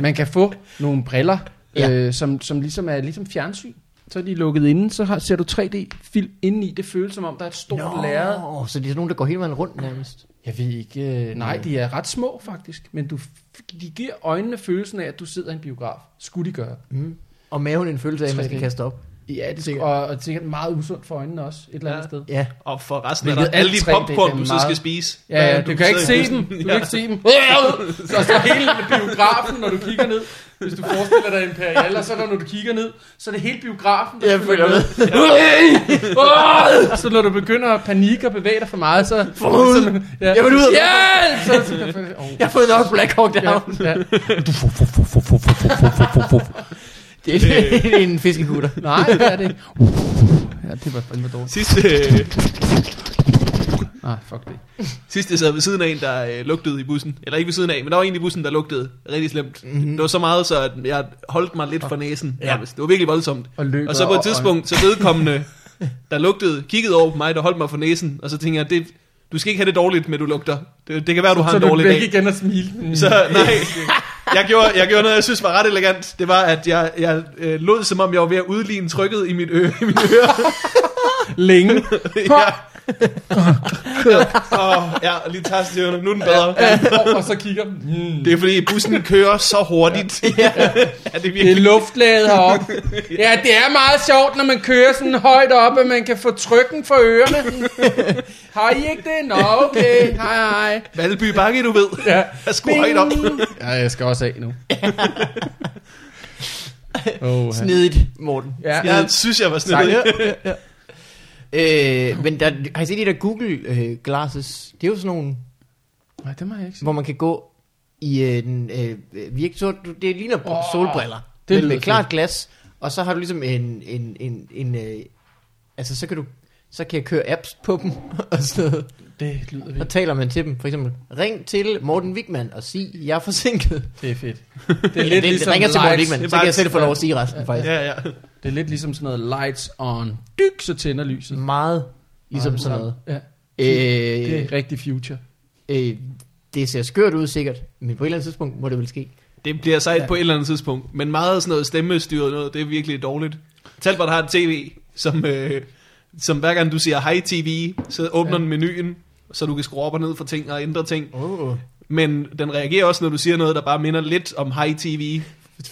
[SPEAKER 1] man kan få nogle briller,
[SPEAKER 3] Ja.
[SPEAKER 1] øh, som, som ligesom er ligesom fjernsyn. Så er de lukket inde, så har, ser du 3D-film indeni. Det føles som om, der er et stort no. lærred.
[SPEAKER 3] Nå, så det er sådan nogen, der går hele vejen rundt nærmest.
[SPEAKER 1] Jeg ved ikke... Øh, nej, de er ret små faktisk, men du, f- de giver øjnene følelsen af, at du sidder i en biograf. Skulle de gøre.
[SPEAKER 3] Og maven en følelse af, at man skal
[SPEAKER 1] 3D.
[SPEAKER 3] kaste op.
[SPEAKER 1] Ja, det
[SPEAKER 3] Sikkert.
[SPEAKER 1] sikkert. Og, og sikkert meget usundt for øjnene også, et eller andet
[SPEAKER 4] Ja.
[SPEAKER 1] ja. sted.
[SPEAKER 3] Ja.
[SPEAKER 4] Og for resten
[SPEAKER 1] Hvilket
[SPEAKER 4] Hvilket af dig, alle de
[SPEAKER 1] alt tre, det er
[SPEAKER 4] popcorn, du så
[SPEAKER 1] meget-
[SPEAKER 4] skal spise.
[SPEAKER 1] Ja,
[SPEAKER 4] Hvad er
[SPEAKER 1] ja,
[SPEAKER 4] det,
[SPEAKER 1] du kan ikke
[SPEAKER 4] sidder i
[SPEAKER 1] se dem.
[SPEAKER 4] bussen?
[SPEAKER 1] Du kan ikke se dem. Så står hele biografen, når du kigger ned. Hvis du forestiller dig Imperial, og så når du kigger ned, så er det hele biografen, der
[SPEAKER 3] Jeg følger med.
[SPEAKER 1] Og så når du begynder at panikke og bevæge dig for meget, så...
[SPEAKER 3] Forud!
[SPEAKER 1] så- ja.
[SPEAKER 3] Jeg vil ud af-
[SPEAKER 1] Hjælp! Så, så, så, oh.
[SPEAKER 3] Jeg har fået nok Black Hawk Down.
[SPEAKER 1] Ja, ja.
[SPEAKER 3] Det er en fiskekutter.
[SPEAKER 1] Nej, det er det ikke. Ja, det var fandme dårligt.
[SPEAKER 4] Sidste, øh,
[SPEAKER 1] Nej, fuck det.
[SPEAKER 4] sidste jeg sad ved siden af en, der øh, lugtede i bussen. Eller ikke ved siden af, men der var en i bussen, der lugtede rigtig slemt.
[SPEAKER 1] Mhm.
[SPEAKER 4] Mm-hmm. Det var så meget, så at jeg holdt mig lidt for næsen. Ja. Det var virkelig voldsomt.
[SPEAKER 1] Og løber
[SPEAKER 4] Og så på et
[SPEAKER 1] og-
[SPEAKER 4] tidspunkt, så vedkommende, der lugtede, kiggede over på mig, der holdt mig for næsen. Og så tænkte jeg, det, du skal ikke have det dårligt, men du lugter. Det, det kan være, du har
[SPEAKER 1] Så
[SPEAKER 4] en
[SPEAKER 1] du
[SPEAKER 4] dårlig dag.
[SPEAKER 1] væk igen og smile.
[SPEAKER 4] Så nej, jeg gjorde, jeg gjorde noget, jeg synes var ret elegant. Det var, at jeg, jeg øh, lod, som om jeg var ved at udligne trykket i mit øre. I mit øre.
[SPEAKER 1] Længe.
[SPEAKER 4] ja. ja. Oh, ja, lige tager stjerne. Nu er den bedre.
[SPEAKER 1] Og, og så kigger mm.
[SPEAKER 4] Det er fordi, bussen kører så hurtigt. ja, det er
[SPEAKER 1] Det er
[SPEAKER 4] virkelig...
[SPEAKER 1] luftlaget heroppe. Ja, det er meget sjovt, når man kører sådan højt op, at man kan få trykken for ørerne. Har I ikke det? Nå, okay. Hej, hej.
[SPEAKER 4] Valby Bakke, du ved.
[SPEAKER 1] Ja.
[SPEAKER 4] Jeg skulle højt op.
[SPEAKER 1] Ja, jeg skal også af nu. Oh,
[SPEAKER 3] Snedigt, Morten.
[SPEAKER 1] ja.
[SPEAKER 4] Jeg synes, jeg var snedig.
[SPEAKER 3] Øh, men der, har I set de der Google øh, Glasses? Det er jo sådan nogle,
[SPEAKER 1] Nej, det må jeg ikke sige.
[SPEAKER 3] hvor man kan gå i øh, den øh, virke, så du, det ligner oh,
[SPEAKER 1] Åh,
[SPEAKER 3] solbriller.
[SPEAKER 1] det
[SPEAKER 3] Det men
[SPEAKER 1] lyder
[SPEAKER 3] med klart glas, og så har du ligesom en, en, en, en øh, altså så kan du, så kan jeg køre apps på dem, og sådan noget.
[SPEAKER 1] Det lyder
[SPEAKER 3] Så
[SPEAKER 1] vildt.
[SPEAKER 3] taler man til dem, for eksempel, ring til Morten Wigman og sig, jeg er forsinket.
[SPEAKER 1] Det er fedt.
[SPEAKER 3] Det er lidt det, ligesom ringer til Morten Wigman,
[SPEAKER 4] det er
[SPEAKER 3] så kan
[SPEAKER 4] bare-
[SPEAKER 3] jeg selv få lov at sige resten, faktisk.
[SPEAKER 4] Ja, ja.
[SPEAKER 1] Det er lidt ligesom sådan noget lights on. Dyk, så tænder lyset.
[SPEAKER 3] Meget ligesom sådan noget.
[SPEAKER 1] Ja, det
[SPEAKER 3] Øh,
[SPEAKER 1] er rigtig future.
[SPEAKER 3] øh, det ser skørt ud sikkert, men på et eller andet tidspunkt må det vel ske.
[SPEAKER 4] Det bliver sejt på et eller andet tidspunkt. Men meget sådan noget stemmestyret noget, det er virkelig dårligt. Talbot har et tv, som, øh, som hver gang du siger hej tv, så åbner ja. den menuen, så du kan skrue op og ned for ting og ændre ting.
[SPEAKER 3] Oh.
[SPEAKER 4] Men den reagerer også, når du siger noget, der bare minder lidt om hej tv.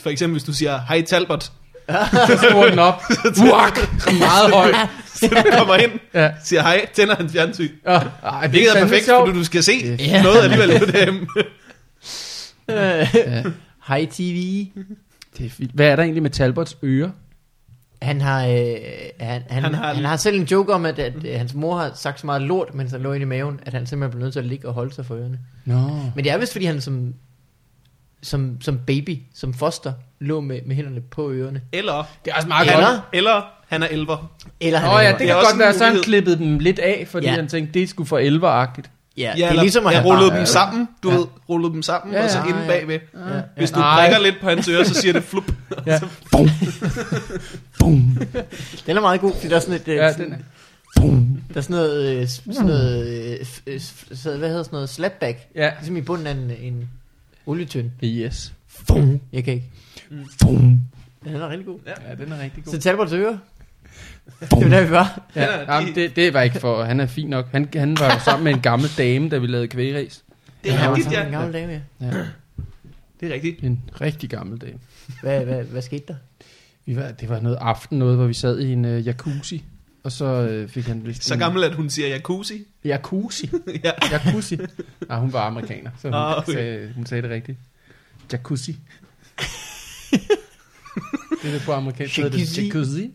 [SPEAKER 4] For eksempel hvis du siger hej Talbot,
[SPEAKER 1] Så skruer den op. Wak! Meget højt.
[SPEAKER 4] så du kommer ind,
[SPEAKER 1] Ja.
[SPEAKER 4] siger hej, tænder hans fjernsyn.
[SPEAKER 1] Ja. Ej, det
[SPEAKER 4] Hvilket er
[SPEAKER 1] fandme
[SPEAKER 4] perfekt,
[SPEAKER 1] sjovt.
[SPEAKER 4] fordi du skal se
[SPEAKER 3] Ja.
[SPEAKER 4] yeah. noget alligevel på dem.
[SPEAKER 1] Ja,
[SPEAKER 3] Øh, Hej TV.
[SPEAKER 1] det er fint. Hvad er der egentlig med Talbots ører?
[SPEAKER 3] Han har, øh, han, han, han,
[SPEAKER 4] Han
[SPEAKER 3] har,
[SPEAKER 4] har-
[SPEAKER 3] han har selv en joke om, at, at øh, hans mor har sagt så meget lort, mens han lå inde i maven, at han simpelthen blev nødt til at ligge og holde sig for ørerne.
[SPEAKER 1] Nå.
[SPEAKER 3] Men det er vist, fordi han som, som, som baby, som foster, lå med, med hænderne på ørerne.
[SPEAKER 4] Eller,
[SPEAKER 1] Det er også meget
[SPEAKER 3] Eller-
[SPEAKER 1] godt.
[SPEAKER 4] eller han er elver.
[SPEAKER 3] Eller han
[SPEAKER 1] Åh ja, det
[SPEAKER 4] Det er
[SPEAKER 1] kan
[SPEAKER 4] også
[SPEAKER 1] godt
[SPEAKER 4] en
[SPEAKER 1] være, så han
[SPEAKER 4] mulighed.
[SPEAKER 1] klippede dem lidt af, fordi
[SPEAKER 3] Ja.
[SPEAKER 1] han tænkte, det skulle for elveragtigt.
[SPEAKER 3] ja,
[SPEAKER 4] Ja,
[SPEAKER 3] det er
[SPEAKER 4] eller,
[SPEAKER 3] ligesom, at
[SPEAKER 4] jeg
[SPEAKER 3] han
[SPEAKER 4] rullede
[SPEAKER 3] bare,
[SPEAKER 4] dem sammen, du
[SPEAKER 1] Ja.
[SPEAKER 4] ved, rullede dem sammen,
[SPEAKER 1] Ja,
[SPEAKER 4] og så
[SPEAKER 1] ja.
[SPEAKER 4] inde
[SPEAKER 3] Ah, ja.
[SPEAKER 4] bagved.
[SPEAKER 3] Ja.
[SPEAKER 4] Hvis du
[SPEAKER 1] Nej.
[SPEAKER 4] prikker lidt på hans øre, så siger det flup.
[SPEAKER 1] Ja.
[SPEAKER 5] Boom. Boom.
[SPEAKER 3] Den er meget god, fordi der er sådan et... øh,
[SPEAKER 1] Ja,
[SPEAKER 3] sådan-
[SPEAKER 1] den er.
[SPEAKER 5] Boom.
[SPEAKER 3] Der er sådan noget, øh, s- sådan noget øh, f- øh, f- så- hvad hedder sådan noget, slapback.
[SPEAKER 1] Ja.
[SPEAKER 3] Ligesom i bunden af en, en olietønde.
[SPEAKER 1] Yes.
[SPEAKER 5] Boom.
[SPEAKER 3] Jeg kan ikke.
[SPEAKER 5] Boom.
[SPEAKER 3] Den er rigtig god.
[SPEAKER 1] Ja, den er rigtig god.
[SPEAKER 3] Så Talbots øre. Det var der, vi var.
[SPEAKER 1] Ja,
[SPEAKER 4] Han er-
[SPEAKER 1] jamen, det, det var ikke for, han er fin nok. Han, han var jo sammen med en gammel dame, da vi lavede kvægeræs.
[SPEAKER 4] Det er
[SPEAKER 3] Ja,
[SPEAKER 4] rigtigt,
[SPEAKER 3] sådan
[SPEAKER 4] ja.
[SPEAKER 3] En gammel dame, ja.
[SPEAKER 1] Ja,
[SPEAKER 4] Det er rigtigt.
[SPEAKER 1] en rigtig gammel dame.
[SPEAKER 3] Hvad, hvad, hvad skete der?
[SPEAKER 1] Vi var, det var noget aften noget, hvor vi sad i en uh, jacuzzi, og så uh, fik han vist
[SPEAKER 4] Så
[SPEAKER 1] en
[SPEAKER 4] gammel, at hun siger jacuzzi.
[SPEAKER 1] Jacuzzi.
[SPEAKER 4] ja.
[SPEAKER 1] Jacuzzi. Nej, hun var amerikaner, så hun,
[SPEAKER 4] Ah,
[SPEAKER 1] oh,
[SPEAKER 4] okay.
[SPEAKER 1] okay. sagde, hun sagde det rigtigt. Jacuzzi. det er det på amerikansk, så hedder det jacuzzi.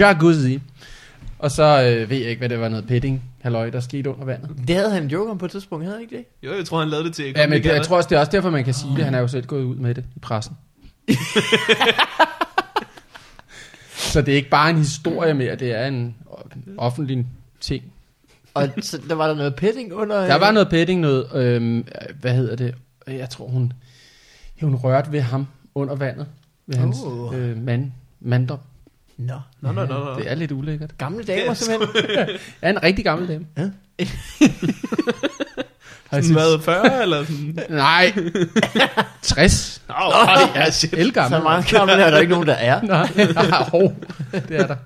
[SPEAKER 1] Jacuzzi. Og så øh, ved jeg ikke, hvad det var, noget petting, halløj, der skete under vandet.
[SPEAKER 3] Det havde han en joke om på et tidspunkt, havde han ikke det?
[SPEAKER 4] Jo, jeg tror, han lavede det til.
[SPEAKER 1] Ja, men det, jeg tror også, det er også derfor, man kan sige det. Han er jo selv gået ud med det i pressen. så det er ikke bare en historie mere, det er en offentlig ting.
[SPEAKER 3] Og så, der var der noget petting under... øh,
[SPEAKER 1] Der var noget petting, noget, øhm, hvad hedder det, jeg tror hun, ja, hun rørte ved ham under vandet, ved hans
[SPEAKER 3] Oh.
[SPEAKER 1] øh, mand, mandom.
[SPEAKER 3] Nå.
[SPEAKER 4] Uh. Nå, nå, nå, nå.
[SPEAKER 1] Det er lidt ulækkert.
[SPEAKER 3] Gamle damer,
[SPEAKER 4] Det er
[SPEAKER 3] simpelthen.
[SPEAKER 1] Er en rigtig gammel dame.
[SPEAKER 3] Ja.
[SPEAKER 1] Har jeg
[SPEAKER 4] Sådan
[SPEAKER 1] synes,
[SPEAKER 4] været 40 eller sådan?
[SPEAKER 1] nej, 60.
[SPEAKER 4] Nå, oh, ja, shit.
[SPEAKER 1] Elgammel.
[SPEAKER 3] Så mange gamle der er der ikke nogen, der er.
[SPEAKER 1] Nej, ah, hov, det er der.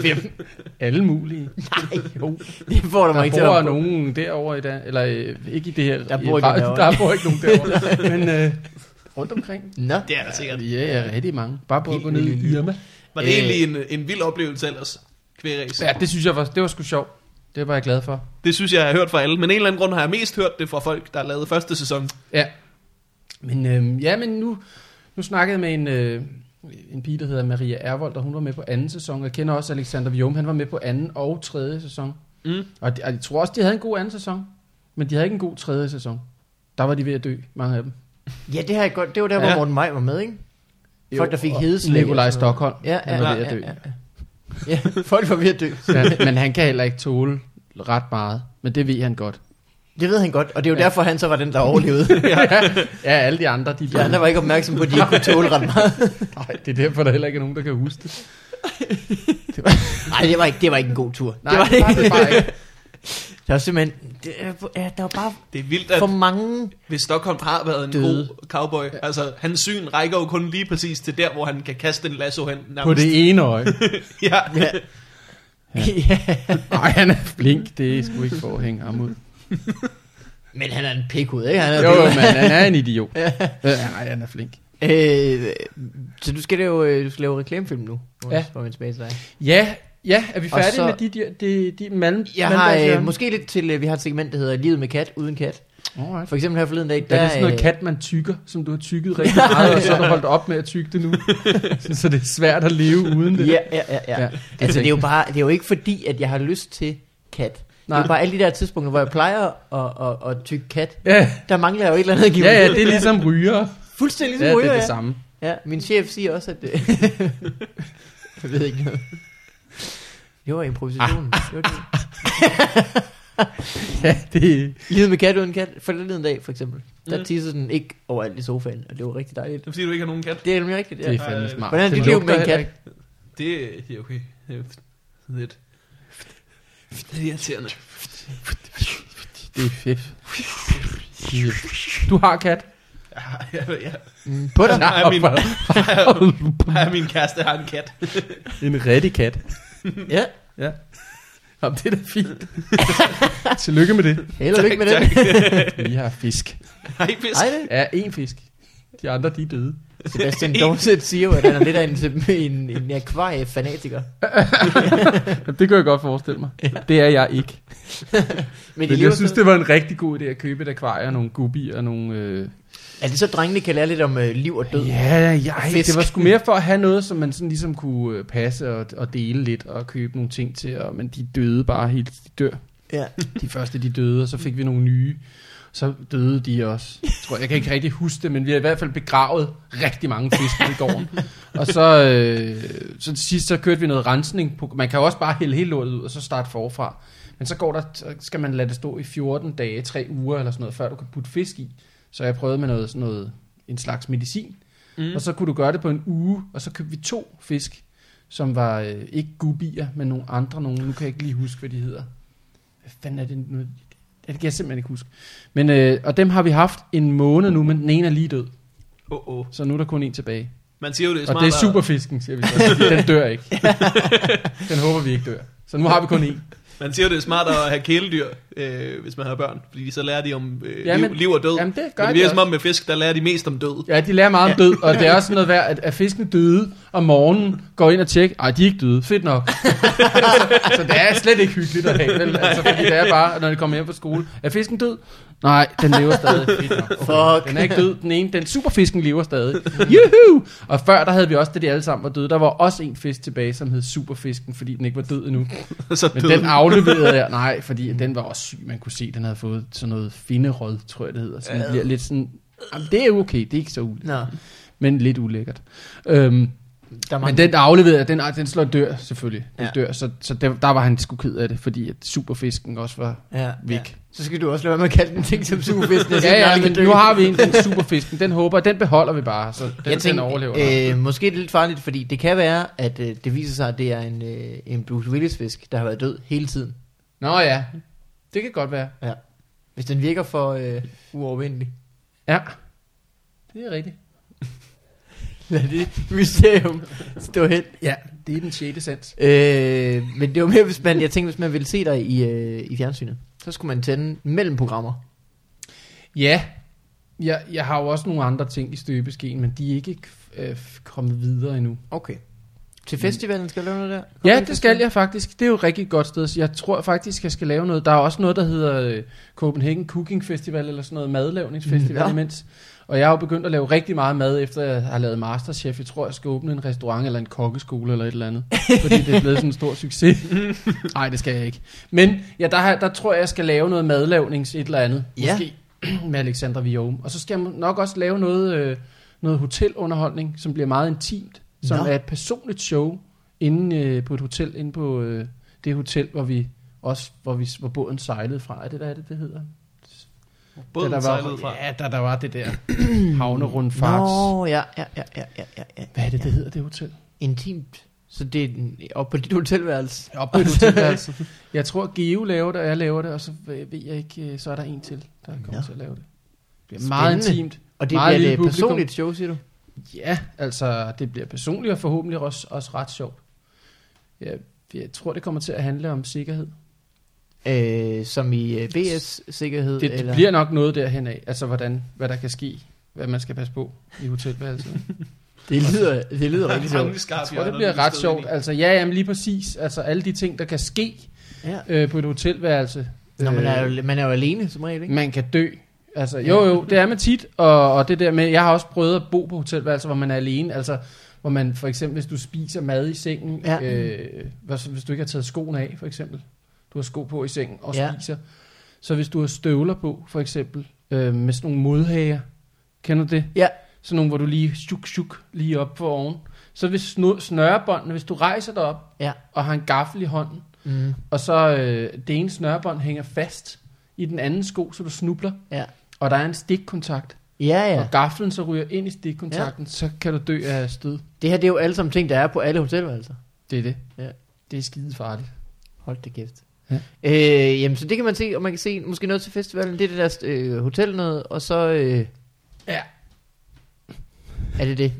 [SPEAKER 1] Hvem? Alle mulige.
[SPEAKER 3] Nej,
[SPEAKER 1] Jo,
[SPEAKER 3] det får der mig
[SPEAKER 1] der
[SPEAKER 3] ikke til at
[SPEAKER 1] bor
[SPEAKER 3] op på.
[SPEAKER 1] nogen derovre i dag, eller øh, ikke i det her.
[SPEAKER 3] Der bor ikke nogen derovre.
[SPEAKER 1] der bor ikke nogen derovre. Men øh, rundt omkring.
[SPEAKER 3] Nå.
[SPEAKER 4] Det er der sikkert.
[SPEAKER 1] Ja, ja, rigtig mange. Bare prøv at gå ned i Irma.
[SPEAKER 4] Var det
[SPEAKER 3] Øh.
[SPEAKER 4] egentlig en, en vild oplevelse ellers? Kvægræs.
[SPEAKER 1] Ja, det synes jeg var, det var sgu sjovt. Det var jeg glad for.
[SPEAKER 4] Det synes jeg, jeg har hørt fra alle. Men en eller anden grund har jeg mest hørt det fra folk, der lavede første sæson.
[SPEAKER 1] Ja. Men, øhm, ja, men nu, nu snakkede jeg med en, øh, en pige, der hedder Maria Ervold, og hun var med på anden sæson. Jeg kender også Alexander Vium, han var med på anden og tredje sæson.
[SPEAKER 4] Mm.
[SPEAKER 1] Og, de, og jeg tror også, de havde en god anden sæson, men de havde ikke en god tredje sæson. Der var de ved at dø, mange af dem.
[SPEAKER 3] Ja, det, har jeg godt, det var der, hvor
[SPEAKER 4] Ja.
[SPEAKER 3] Morten Maj var med, ikke?
[SPEAKER 1] Jo,
[SPEAKER 3] Folk, der fik
[SPEAKER 1] og
[SPEAKER 3] hedeslæg.
[SPEAKER 1] Nikolaj
[SPEAKER 3] og sådan noget.
[SPEAKER 1] Stockholm,
[SPEAKER 3] Ja, ja,
[SPEAKER 1] han var
[SPEAKER 3] ja,
[SPEAKER 1] ved at
[SPEAKER 3] ja,
[SPEAKER 1] dø.
[SPEAKER 3] ja, ja. ja, folk var ved at dø.
[SPEAKER 1] Så han, men han kan heller ikke tåle ret meget, men det ved han godt.
[SPEAKER 3] Det ved han godt, og det er jo
[SPEAKER 1] Ja.
[SPEAKER 3] ja. derfor, han så var den, der overlevede.
[SPEAKER 1] Ja, alle de andre, de,
[SPEAKER 3] Ja, han var ikke opmærksom på, at de ikke kunne tåle ret meget.
[SPEAKER 1] Nej, det er derfor, der heller ikke er nogen, der kan huske det.
[SPEAKER 3] Nej, det var ikke, det var ikke en god tur.
[SPEAKER 1] Nej, det var det bare ikke.
[SPEAKER 3] Der var simpelthen, det, er- ja, der var bare
[SPEAKER 4] Det er vildt, at
[SPEAKER 3] for mange.
[SPEAKER 4] hvis Stockholm har været en
[SPEAKER 3] Døde.
[SPEAKER 4] god cowboy, ja. altså hans syn rækker jo kun lige præcis til der, hvor han kan kaste en lasso hen. Nærmest.
[SPEAKER 1] På det ene øje.
[SPEAKER 4] Ja.
[SPEAKER 3] Ja. ja.
[SPEAKER 1] Nej, han er flink. Det er sgu ikke for at hænge ham ud.
[SPEAKER 3] Men han er en pikhud, ikke? Han er
[SPEAKER 1] Jo,
[SPEAKER 3] død.
[SPEAKER 1] men han er en idiot. Ja. Nej, han er flink.
[SPEAKER 3] Øh, så du skal lave, øh, du skal lave reklamefilm nu,
[SPEAKER 1] Ja.
[SPEAKER 3] ja. hvor man tilbage til dig.
[SPEAKER 1] Ja, ja, er vi
[SPEAKER 3] Og
[SPEAKER 1] færdige så...
[SPEAKER 3] så-
[SPEAKER 1] med de, de, de, de malm,
[SPEAKER 3] Jeg har øh, måske lidt til, øh, vi har et segment, der hedder Livet med kat, uden kat.
[SPEAKER 1] Alright.
[SPEAKER 3] For eksempel her forleden dag,
[SPEAKER 1] Der
[SPEAKER 3] der...
[SPEAKER 1] er det sådan noget
[SPEAKER 3] øh,
[SPEAKER 1] kat, man tykker, som du har tykket rigtig meget, og så har du holdt op med at tykke det nu. Sådan, så det er svært at leve uden det.
[SPEAKER 3] øh, Ja, ja, ja, ja.
[SPEAKER 1] Ja,
[SPEAKER 3] ja
[SPEAKER 1] det
[SPEAKER 3] altså, det
[SPEAKER 1] tænker
[SPEAKER 3] er jo bare, det er jo ikke fordi, at jeg har lyst til kat. Nej. Det
[SPEAKER 1] Nej.
[SPEAKER 3] er bare alle de der tidspunkter, hvor jeg plejer at, at, at tykke kat.
[SPEAKER 1] Ja,
[SPEAKER 3] Der mangler jeg jo et eller andet at give
[SPEAKER 1] ja,
[SPEAKER 3] mig
[SPEAKER 1] ja,
[SPEAKER 3] selv.
[SPEAKER 1] det er ligesom ryger.
[SPEAKER 3] Fuldstændig
[SPEAKER 1] Ja,
[SPEAKER 3] ligesom
[SPEAKER 1] det
[SPEAKER 3] ryger,
[SPEAKER 1] er
[SPEAKER 3] ja.
[SPEAKER 1] det samme.
[SPEAKER 3] Ja, min chef siger også, at det... jeg ved ikke noget. Det var improvisationen.
[SPEAKER 1] Ah.
[SPEAKER 3] Det var det.
[SPEAKER 1] Ja, det er...
[SPEAKER 3] Livet med kat uden kat. For den lille dag, for eksempel. Der mm. tissede den ikke overalt i sofaen, og det var rigtig dejligt.
[SPEAKER 4] Det er fordi, du ikke har nogen kat.
[SPEAKER 3] Det er nemlig rigtigt, ja.
[SPEAKER 1] Det er fandme
[SPEAKER 4] Øh,
[SPEAKER 1] smart.
[SPEAKER 3] Hvordan er
[SPEAKER 1] Det
[SPEAKER 3] dit liv
[SPEAKER 1] lugter
[SPEAKER 3] med en
[SPEAKER 1] heller
[SPEAKER 3] kat?
[SPEAKER 1] ikke.
[SPEAKER 4] Det er ja, okay. Det er sådan lidt. Det er irriterende.
[SPEAKER 1] Det er fedt. Du har kat.
[SPEAKER 4] Ja, ja, ja.
[SPEAKER 3] Mm, på dig.
[SPEAKER 4] Nej, min,
[SPEAKER 1] min...
[SPEAKER 4] nej, min kæreste har en kat.
[SPEAKER 1] en rigtig kat.
[SPEAKER 3] Ja,
[SPEAKER 1] Ja. Jamen, det er da fint. Tillykke med det.
[SPEAKER 3] held og lykke med den.
[SPEAKER 1] Vi har fisk.
[SPEAKER 4] Nej, fisk.
[SPEAKER 3] Ej, det.
[SPEAKER 1] Ja, én fisk. De andre, de er døde.
[SPEAKER 3] Sebastian Dorset siger jo, at han er lidt af en, en, en akvariefanatiker.
[SPEAKER 1] Jamen, det kan jeg godt forestille mig. Det er jeg ikke.
[SPEAKER 3] Men, de
[SPEAKER 1] Men
[SPEAKER 3] lever
[SPEAKER 1] jeg synes,
[SPEAKER 3] sådan,
[SPEAKER 1] det var en rigtig god idé at købe et akvarie og nogle guppier og nogle... Øh...
[SPEAKER 3] Er det så, at drengene kan lære lidt om øh, liv og død?
[SPEAKER 1] Ja, jeg,
[SPEAKER 3] Fisk.
[SPEAKER 1] det var sgu mere for at have noget, som man sådan ligesom kunne øh, passe og, og dele lidt og købe nogle ting til. Og, men de døde bare helt. De dør.
[SPEAKER 3] ja.
[SPEAKER 1] De første, de døde, og så fik vi nogle nye. Så døde de også. Jeg tror, jeg kan ikke rigtig huske det, men vi har i hvert fald begravet rigtig mange fisk i gården. Og så, øh, så til sidst, så kørte vi noget rensning. På, man kan jo også bare hælde hele lortet ud, og så starte forfra. Men så, går der, så skal man lade det stå i 14 dage, 3 uger eller sådan noget, før du kan putte fisk i. Så jeg prøvede med noget, sådan noget, en slags medicin. Mm. Og så kunne du gøre det på en uge, og så købte vi to fisk, som var øh, ikke gubier, men nogle andre nogle. Nu kan jeg ikke lige huske, hvad de hedder. Hvad fanden er det nu? Ja, Det kan jeg simpelthen ikke huske. Men, øh, og dem har vi haft en måned nu, men den ene er lige død.
[SPEAKER 4] Oh, oh.
[SPEAKER 1] Så nu er der kun en tilbage.
[SPEAKER 4] Man siger jo, det er
[SPEAKER 1] Og
[SPEAKER 4] smart.
[SPEAKER 1] det er superfisken, siger vi så. fordi Den dør ikke. Den håber vi ikke dør. Så nu har vi kun en.
[SPEAKER 4] At, man siger jo, det er smart at have kæledyr, øh, hvis man har børn. Fordi så lærer de om øh,
[SPEAKER 1] Ja,
[SPEAKER 4] liv,
[SPEAKER 1] men-
[SPEAKER 4] liv og død.
[SPEAKER 1] Jamen, det gør
[SPEAKER 4] Men
[SPEAKER 1] de
[SPEAKER 4] det virker
[SPEAKER 1] også.
[SPEAKER 4] som om med fisk, der lærer de mest om død.
[SPEAKER 1] Ja, de lærer meget om død, og det er også sådan noget værd, at, at fisken døde om morgenen, går ind og tjekker, ej, de er ikke døde, fedt nok. så, så det er slet ikke hyggeligt at have, vel? Altså, fordi det er bare, når de kommer hjem fra skole, er fisken død? Nej, den lever stadig. Fedt nok. Okay.
[SPEAKER 3] Fuck.
[SPEAKER 1] Den er ikke død, den ene, den superfisken lever stadig. Juhu! Og før, der havde vi også det, de alle sammen var døde. Der var også en fisk tilbage, som hed superfisken, fordi den ikke var død endnu.
[SPEAKER 4] så
[SPEAKER 1] Men
[SPEAKER 4] død.
[SPEAKER 1] den afleverede jeg, nej, fordi den var også syg. Man kunne se, den havde fået sådan noget finderød, tror jeg det hedder. Så den bliver lidt sådan, jamen, det er okay, det er ikke så ulækkert,
[SPEAKER 3] Nå,
[SPEAKER 1] men lidt ulækkert. Øhm,
[SPEAKER 3] der er mange.
[SPEAKER 1] men den afleverede jeg, den, den slår dør selvfølgelig. Den
[SPEAKER 3] Ja.
[SPEAKER 1] dør, så, så der, der, var han sgu ked af det, fordi at superfisken også var
[SPEAKER 3] ja,
[SPEAKER 1] væk.
[SPEAKER 3] Ja. Så skal du også lade være med at kalde den ting som superfisken. og sige,
[SPEAKER 1] Ja,
[SPEAKER 3] den
[SPEAKER 1] ja,
[SPEAKER 3] aldrig
[SPEAKER 1] men
[SPEAKER 3] kan dø.
[SPEAKER 1] nu har vi en, den superfisken, den håber, den beholder vi bare, så den,
[SPEAKER 3] jeg
[SPEAKER 1] den overlever. Øh,
[SPEAKER 3] øh, måske er det lidt farligt, fordi det kan være, at øh, det viser sig, at det er en, øh, en Bruce Willis-fisk, der har været død hele tiden.
[SPEAKER 1] Nå ja, det kan godt være.
[SPEAKER 3] Hvis den virker for øh, uovervindelig.
[SPEAKER 1] Ja, det er rigtigt.
[SPEAKER 3] Lad det mysterium stå hen.
[SPEAKER 1] Ja, det er den 6. sans.
[SPEAKER 3] Øh, men det var mere, hvis man, jeg tænkte, hvis man ville se dig i, øh, i fjernsynet, så skulle man tænde mellem programmer.
[SPEAKER 1] Ja, jeg, jeg har jo også nogle andre ting i støbeskeen, men de er ikke øh, kommet videre endnu.
[SPEAKER 3] Okay. Til festivalen skal du lave noget der? Kommer
[SPEAKER 1] Ja,
[SPEAKER 3] du
[SPEAKER 1] det
[SPEAKER 3] til
[SPEAKER 1] skal jeg faktisk. Det er jo et rigtig godt sted. så Jeg tror faktisk, jeg skal lave noget. Der er også noget, der hedder øh, Copenhagen Cooking Festival, eller sådan noget madlavningsfestival
[SPEAKER 3] Nå.
[SPEAKER 1] ja. imens. Og jeg har jo begyndt at lave rigtig meget mad, efter jeg har lavet Masterchef. Jeg tror, jeg skal åbne en restaurant eller en kokkeskole eller et eller andet. fordi det er blevet sådan en stor succes. Nej, det skal jeg ikke. Men ja, der, har, der tror jeg, jeg skal lave noget madlavnings et eller andet.
[SPEAKER 3] Ja.
[SPEAKER 1] Måske med Alexandra Viome. Og så skal jeg nok også lave noget, øh, noget hotelunderholdning, som bliver meget intimt. Som
[SPEAKER 3] Nå.
[SPEAKER 1] er et personligt show inde øh, på et hotel, inde på øh, det hotel, hvor vi også, hvor, vi, hvor båden sejlede fra. Er det, hvad er det, det hedder?
[SPEAKER 4] Båden
[SPEAKER 1] Da
[SPEAKER 4] der
[SPEAKER 1] der var,
[SPEAKER 4] sejlede fra.
[SPEAKER 1] Ja, der, der var det der havnerundfarts.
[SPEAKER 3] Nå, ja, ja, ja, ja, ja, ja, ja.
[SPEAKER 1] Hvad er det, det hedder, det hotel?
[SPEAKER 3] Intimt. Så det er den- op på dit hotelværelse.
[SPEAKER 1] Op på et hotelværelse. Jeg tror, Geo laver det, og jeg laver det, og så ved jeg ikke, øh, så er der en til, der kommer
[SPEAKER 3] Nå.
[SPEAKER 1] til at lave det. Det er meget
[SPEAKER 3] Spændende.
[SPEAKER 1] intimt.
[SPEAKER 3] Og det
[SPEAKER 1] Meget
[SPEAKER 3] bliver
[SPEAKER 1] lille
[SPEAKER 3] et øh,
[SPEAKER 1] publikum.
[SPEAKER 3] personligt show, siger du?
[SPEAKER 1] Ja, altså det bliver personligt og forhåbentlig også, også ret sjovt. Jeg, jeg tror, det kommer til at handle om sikkerhed.
[SPEAKER 3] Øh, som i øh, BS-sikkerhed?
[SPEAKER 1] Det, det
[SPEAKER 3] eller?
[SPEAKER 1] bliver nok noget derhen af, altså hvordan, hvad der kan ske, hvad man skal passe på i hotelværelset.
[SPEAKER 3] det lyder, det lyder rigtig sjovt.
[SPEAKER 1] Jeg tror, det bliver ret sjovt. Altså ja, jamen lige præcis. Altså alle de ting, der kan ske
[SPEAKER 3] Ja.
[SPEAKER 1] øh, på et hotelværelse.
[SPEAKER 3] Nå, man er,
[SPEAKER 1] Øh,
[SPEAKER 3] jo, man er jo alene som regel, ikke?
[SPEAKER 1] Man kan dø. Altså, jo, jo, det er man tit, og, og det der med, jeg har også prøvet at bo på hotelværelser, hvor man er alene, altså, hvor man for eksempel, hvis du spiser mad i sengen,
[SPEAKER 3] Ja.
[SPEAKER 1] ja. øh, hvad så, hvis du ikke har taget skoene af, for eksempel, du har sko på i sengen og
[SPEAKER 3] Ja.
[SPEAKER 1] ja. spiser, så hvis du har støvler på, for eksempel, øh, med sådan nogle modhager, kender du det?
[SPEAKER 3] Ja.
[SPEAKER 1] Sådan nogle, hvor du lige sjuk, sjuk, lige op for oven. Så hvis snu- snørebåndene, hvis du rejser dig op,
[SPEAKER 3] Ja.
[SPEAKER 1] og har en gaffel i hånden,
[SPEAKER 3] Mm.
[SPEAKER 1] og så øh, det ene snørebånd hænger fast i den anden sko, så du snubler.
[SPEAKER 3] Ja.
[SPEAKER 1] Og der er en stikkontakt.
[SPEAKER 3] Ja,
[SPEAKER 1] Ja.
[SPEAKER 3] ja.
[SPEAKER 1] Og gaflen så ryger ind i stikkontakten, ja. så kan du dø af stød.
[SPEAKER 3] Det her, det er jo alle sammen ting, der er på alle hotelværelser.
[SPEAKER 1] Det er det.
[SPEAKER 3] Ja.
[SPEAKER 1] Det er skide farligt.
[SPEAKER 3] Hold det kæft. Ja.
[SPEAKER 1] Ja.
[SPEAKER 3] Øh, jamen, så det kan man se, og man kan se måske noget til festivalen. Det er det der øh, hotel noget, og så øh,
[SPEAKER 1] Ja.
[SPEAKER 3] er det det.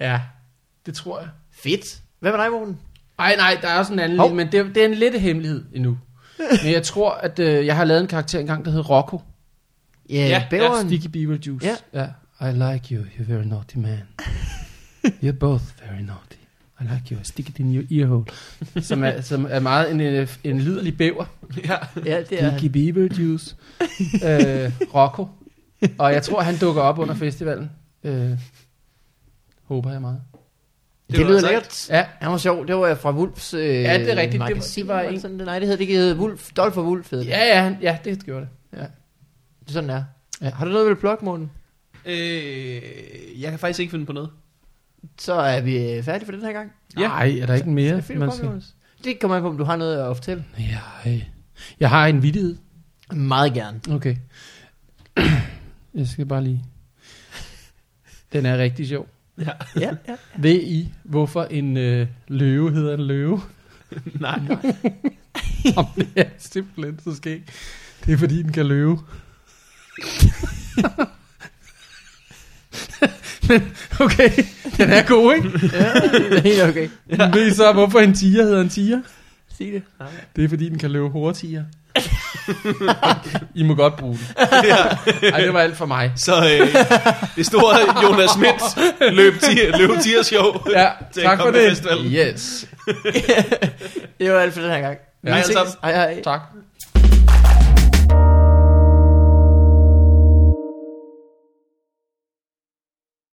[SPEAKER 1] Ja. Det tror jeg.
[SPEAKER 3] Fedt. Hvad med dig, Morten?
[SPEAKER 1] Ej nej, der er også en anden
[SPEAKER 3] Hov.
[SPEAKER 1] lille, men det, er- det er en lille hemmelighed endnu. men jeg tror, at øh, jeg har lavet en karakter engang, der hedder Rocco.
[SPEAKER 3] Ja,
[SPEAKER 4] Ja,
[SPEAKER 3] ja bæveren.
[SPEAKER 1] Sticky Beetlejuice.
[SPEAKER 3] Ja.
[SPEAKER 1] ja. I like you, you're very naughty man. You're both very naughty. I like you, I stick it in your ear hole. som, er, som er meget en, øh, en liderlig bæver.
[SPEAKER 4] Ja.
[SPEAKER 3] ja, det er
[SPEAKER 1] Sticky Beetlejuice. øh, Rocco. Og jeg tror, han dukker op under festivalen. Øh, håber jeg meget.
[SPEAKER 3] Det,
[SPEAKER 4] Det
[SPEAKER 3] det
[SPEAKER 4] var
[SPEAKER 3] lyder
[SPEAKER 4] sejt.
[SPEAKER 3] lækkert.
[SPEAKER 1] Ja,
[SPEAKER 3] Han var sjov. Det var øh, fra Wolfs øh,
[SPEAKER 1] Ja, det er rigtigt. Det var-
[SPEAKER 3] Magasin,
[SPEAKER 1] det var
[SPEAKER 3] en...
[SPEAKER 1] en-
[SPEAKER 3] sådan, det- nej, det hedder det ikke. Det hedder Wolf. Dolph og Wolf hedder det.
[SPEAKER 1] ja, ja, han- ja det gjorde det.
[SPEAKER 3] det. Sådan er. Ja.
[SPEAKER 1] Ja.
[SPEAKER 3] Har du noget ved blog, Morten?
[SPEAKER 4] Øh, jeg kan faktisk ikke finde på noget.
[SPEAKER 3] Så er vi øh, færdige for den her gang.
[SPEAKER 4] Ja.
[SPEAKER 1] Nej, er der ikke mere?
[SPEAKER 3] det, er fint, man skal... det kommer an på, om du har noget at fortælle.
[SPEAKER 1] Nej. Jeg har en vidighed.
[SPEAKER 3] Meget gerne.
[SPEAKER 1] Okay. Jeg skal bare lige... Den er rigtig sjov.
[SPEAKER 3] ja, ja.
[SPEAKER 1] Ved I, hvorfor en øh, løve hedder en løve?
[SPEAKER 4] Nej.
[SPEAKER 1] Om det er simpelthen så skægt. Det er fordi, den kan løve. Men, okay, den er god, ikke?
[SPEAKER 3] ja det er helt okay.
[SPEAKER 1] Ja. Ved I så, hvorfor en tiger hedder en tiger?
[SPEAKER 3] Sig det.
[SPEAKER 1] Det er fordi, den kan løbe hurtigere. I må godt bruge den. Ej, det var alt for mig.
[SPEAKER 4] Så øh, det store Jonas Schmidt løb tier, løb tier show.
[SPEAKER 1] Ja,
[SPEAKER 4] Til
[SPEAKER 1] tak for
[SPEAKER 4] kommende
[SPEAKER 1] det.
[SPEAKER 4] festival.
[SPEAKER 1] Yes.
[SPEAKER 3] det var alt for den her gang.
[SPEAKER 1] Ja,
[SPEAKER 4] Hej alle
[SPEAKER 3] ses.
[SPEAKER 4] sammen.
[SPEAKER 3] Hej, hej.
[SPEAKER 1] Tak.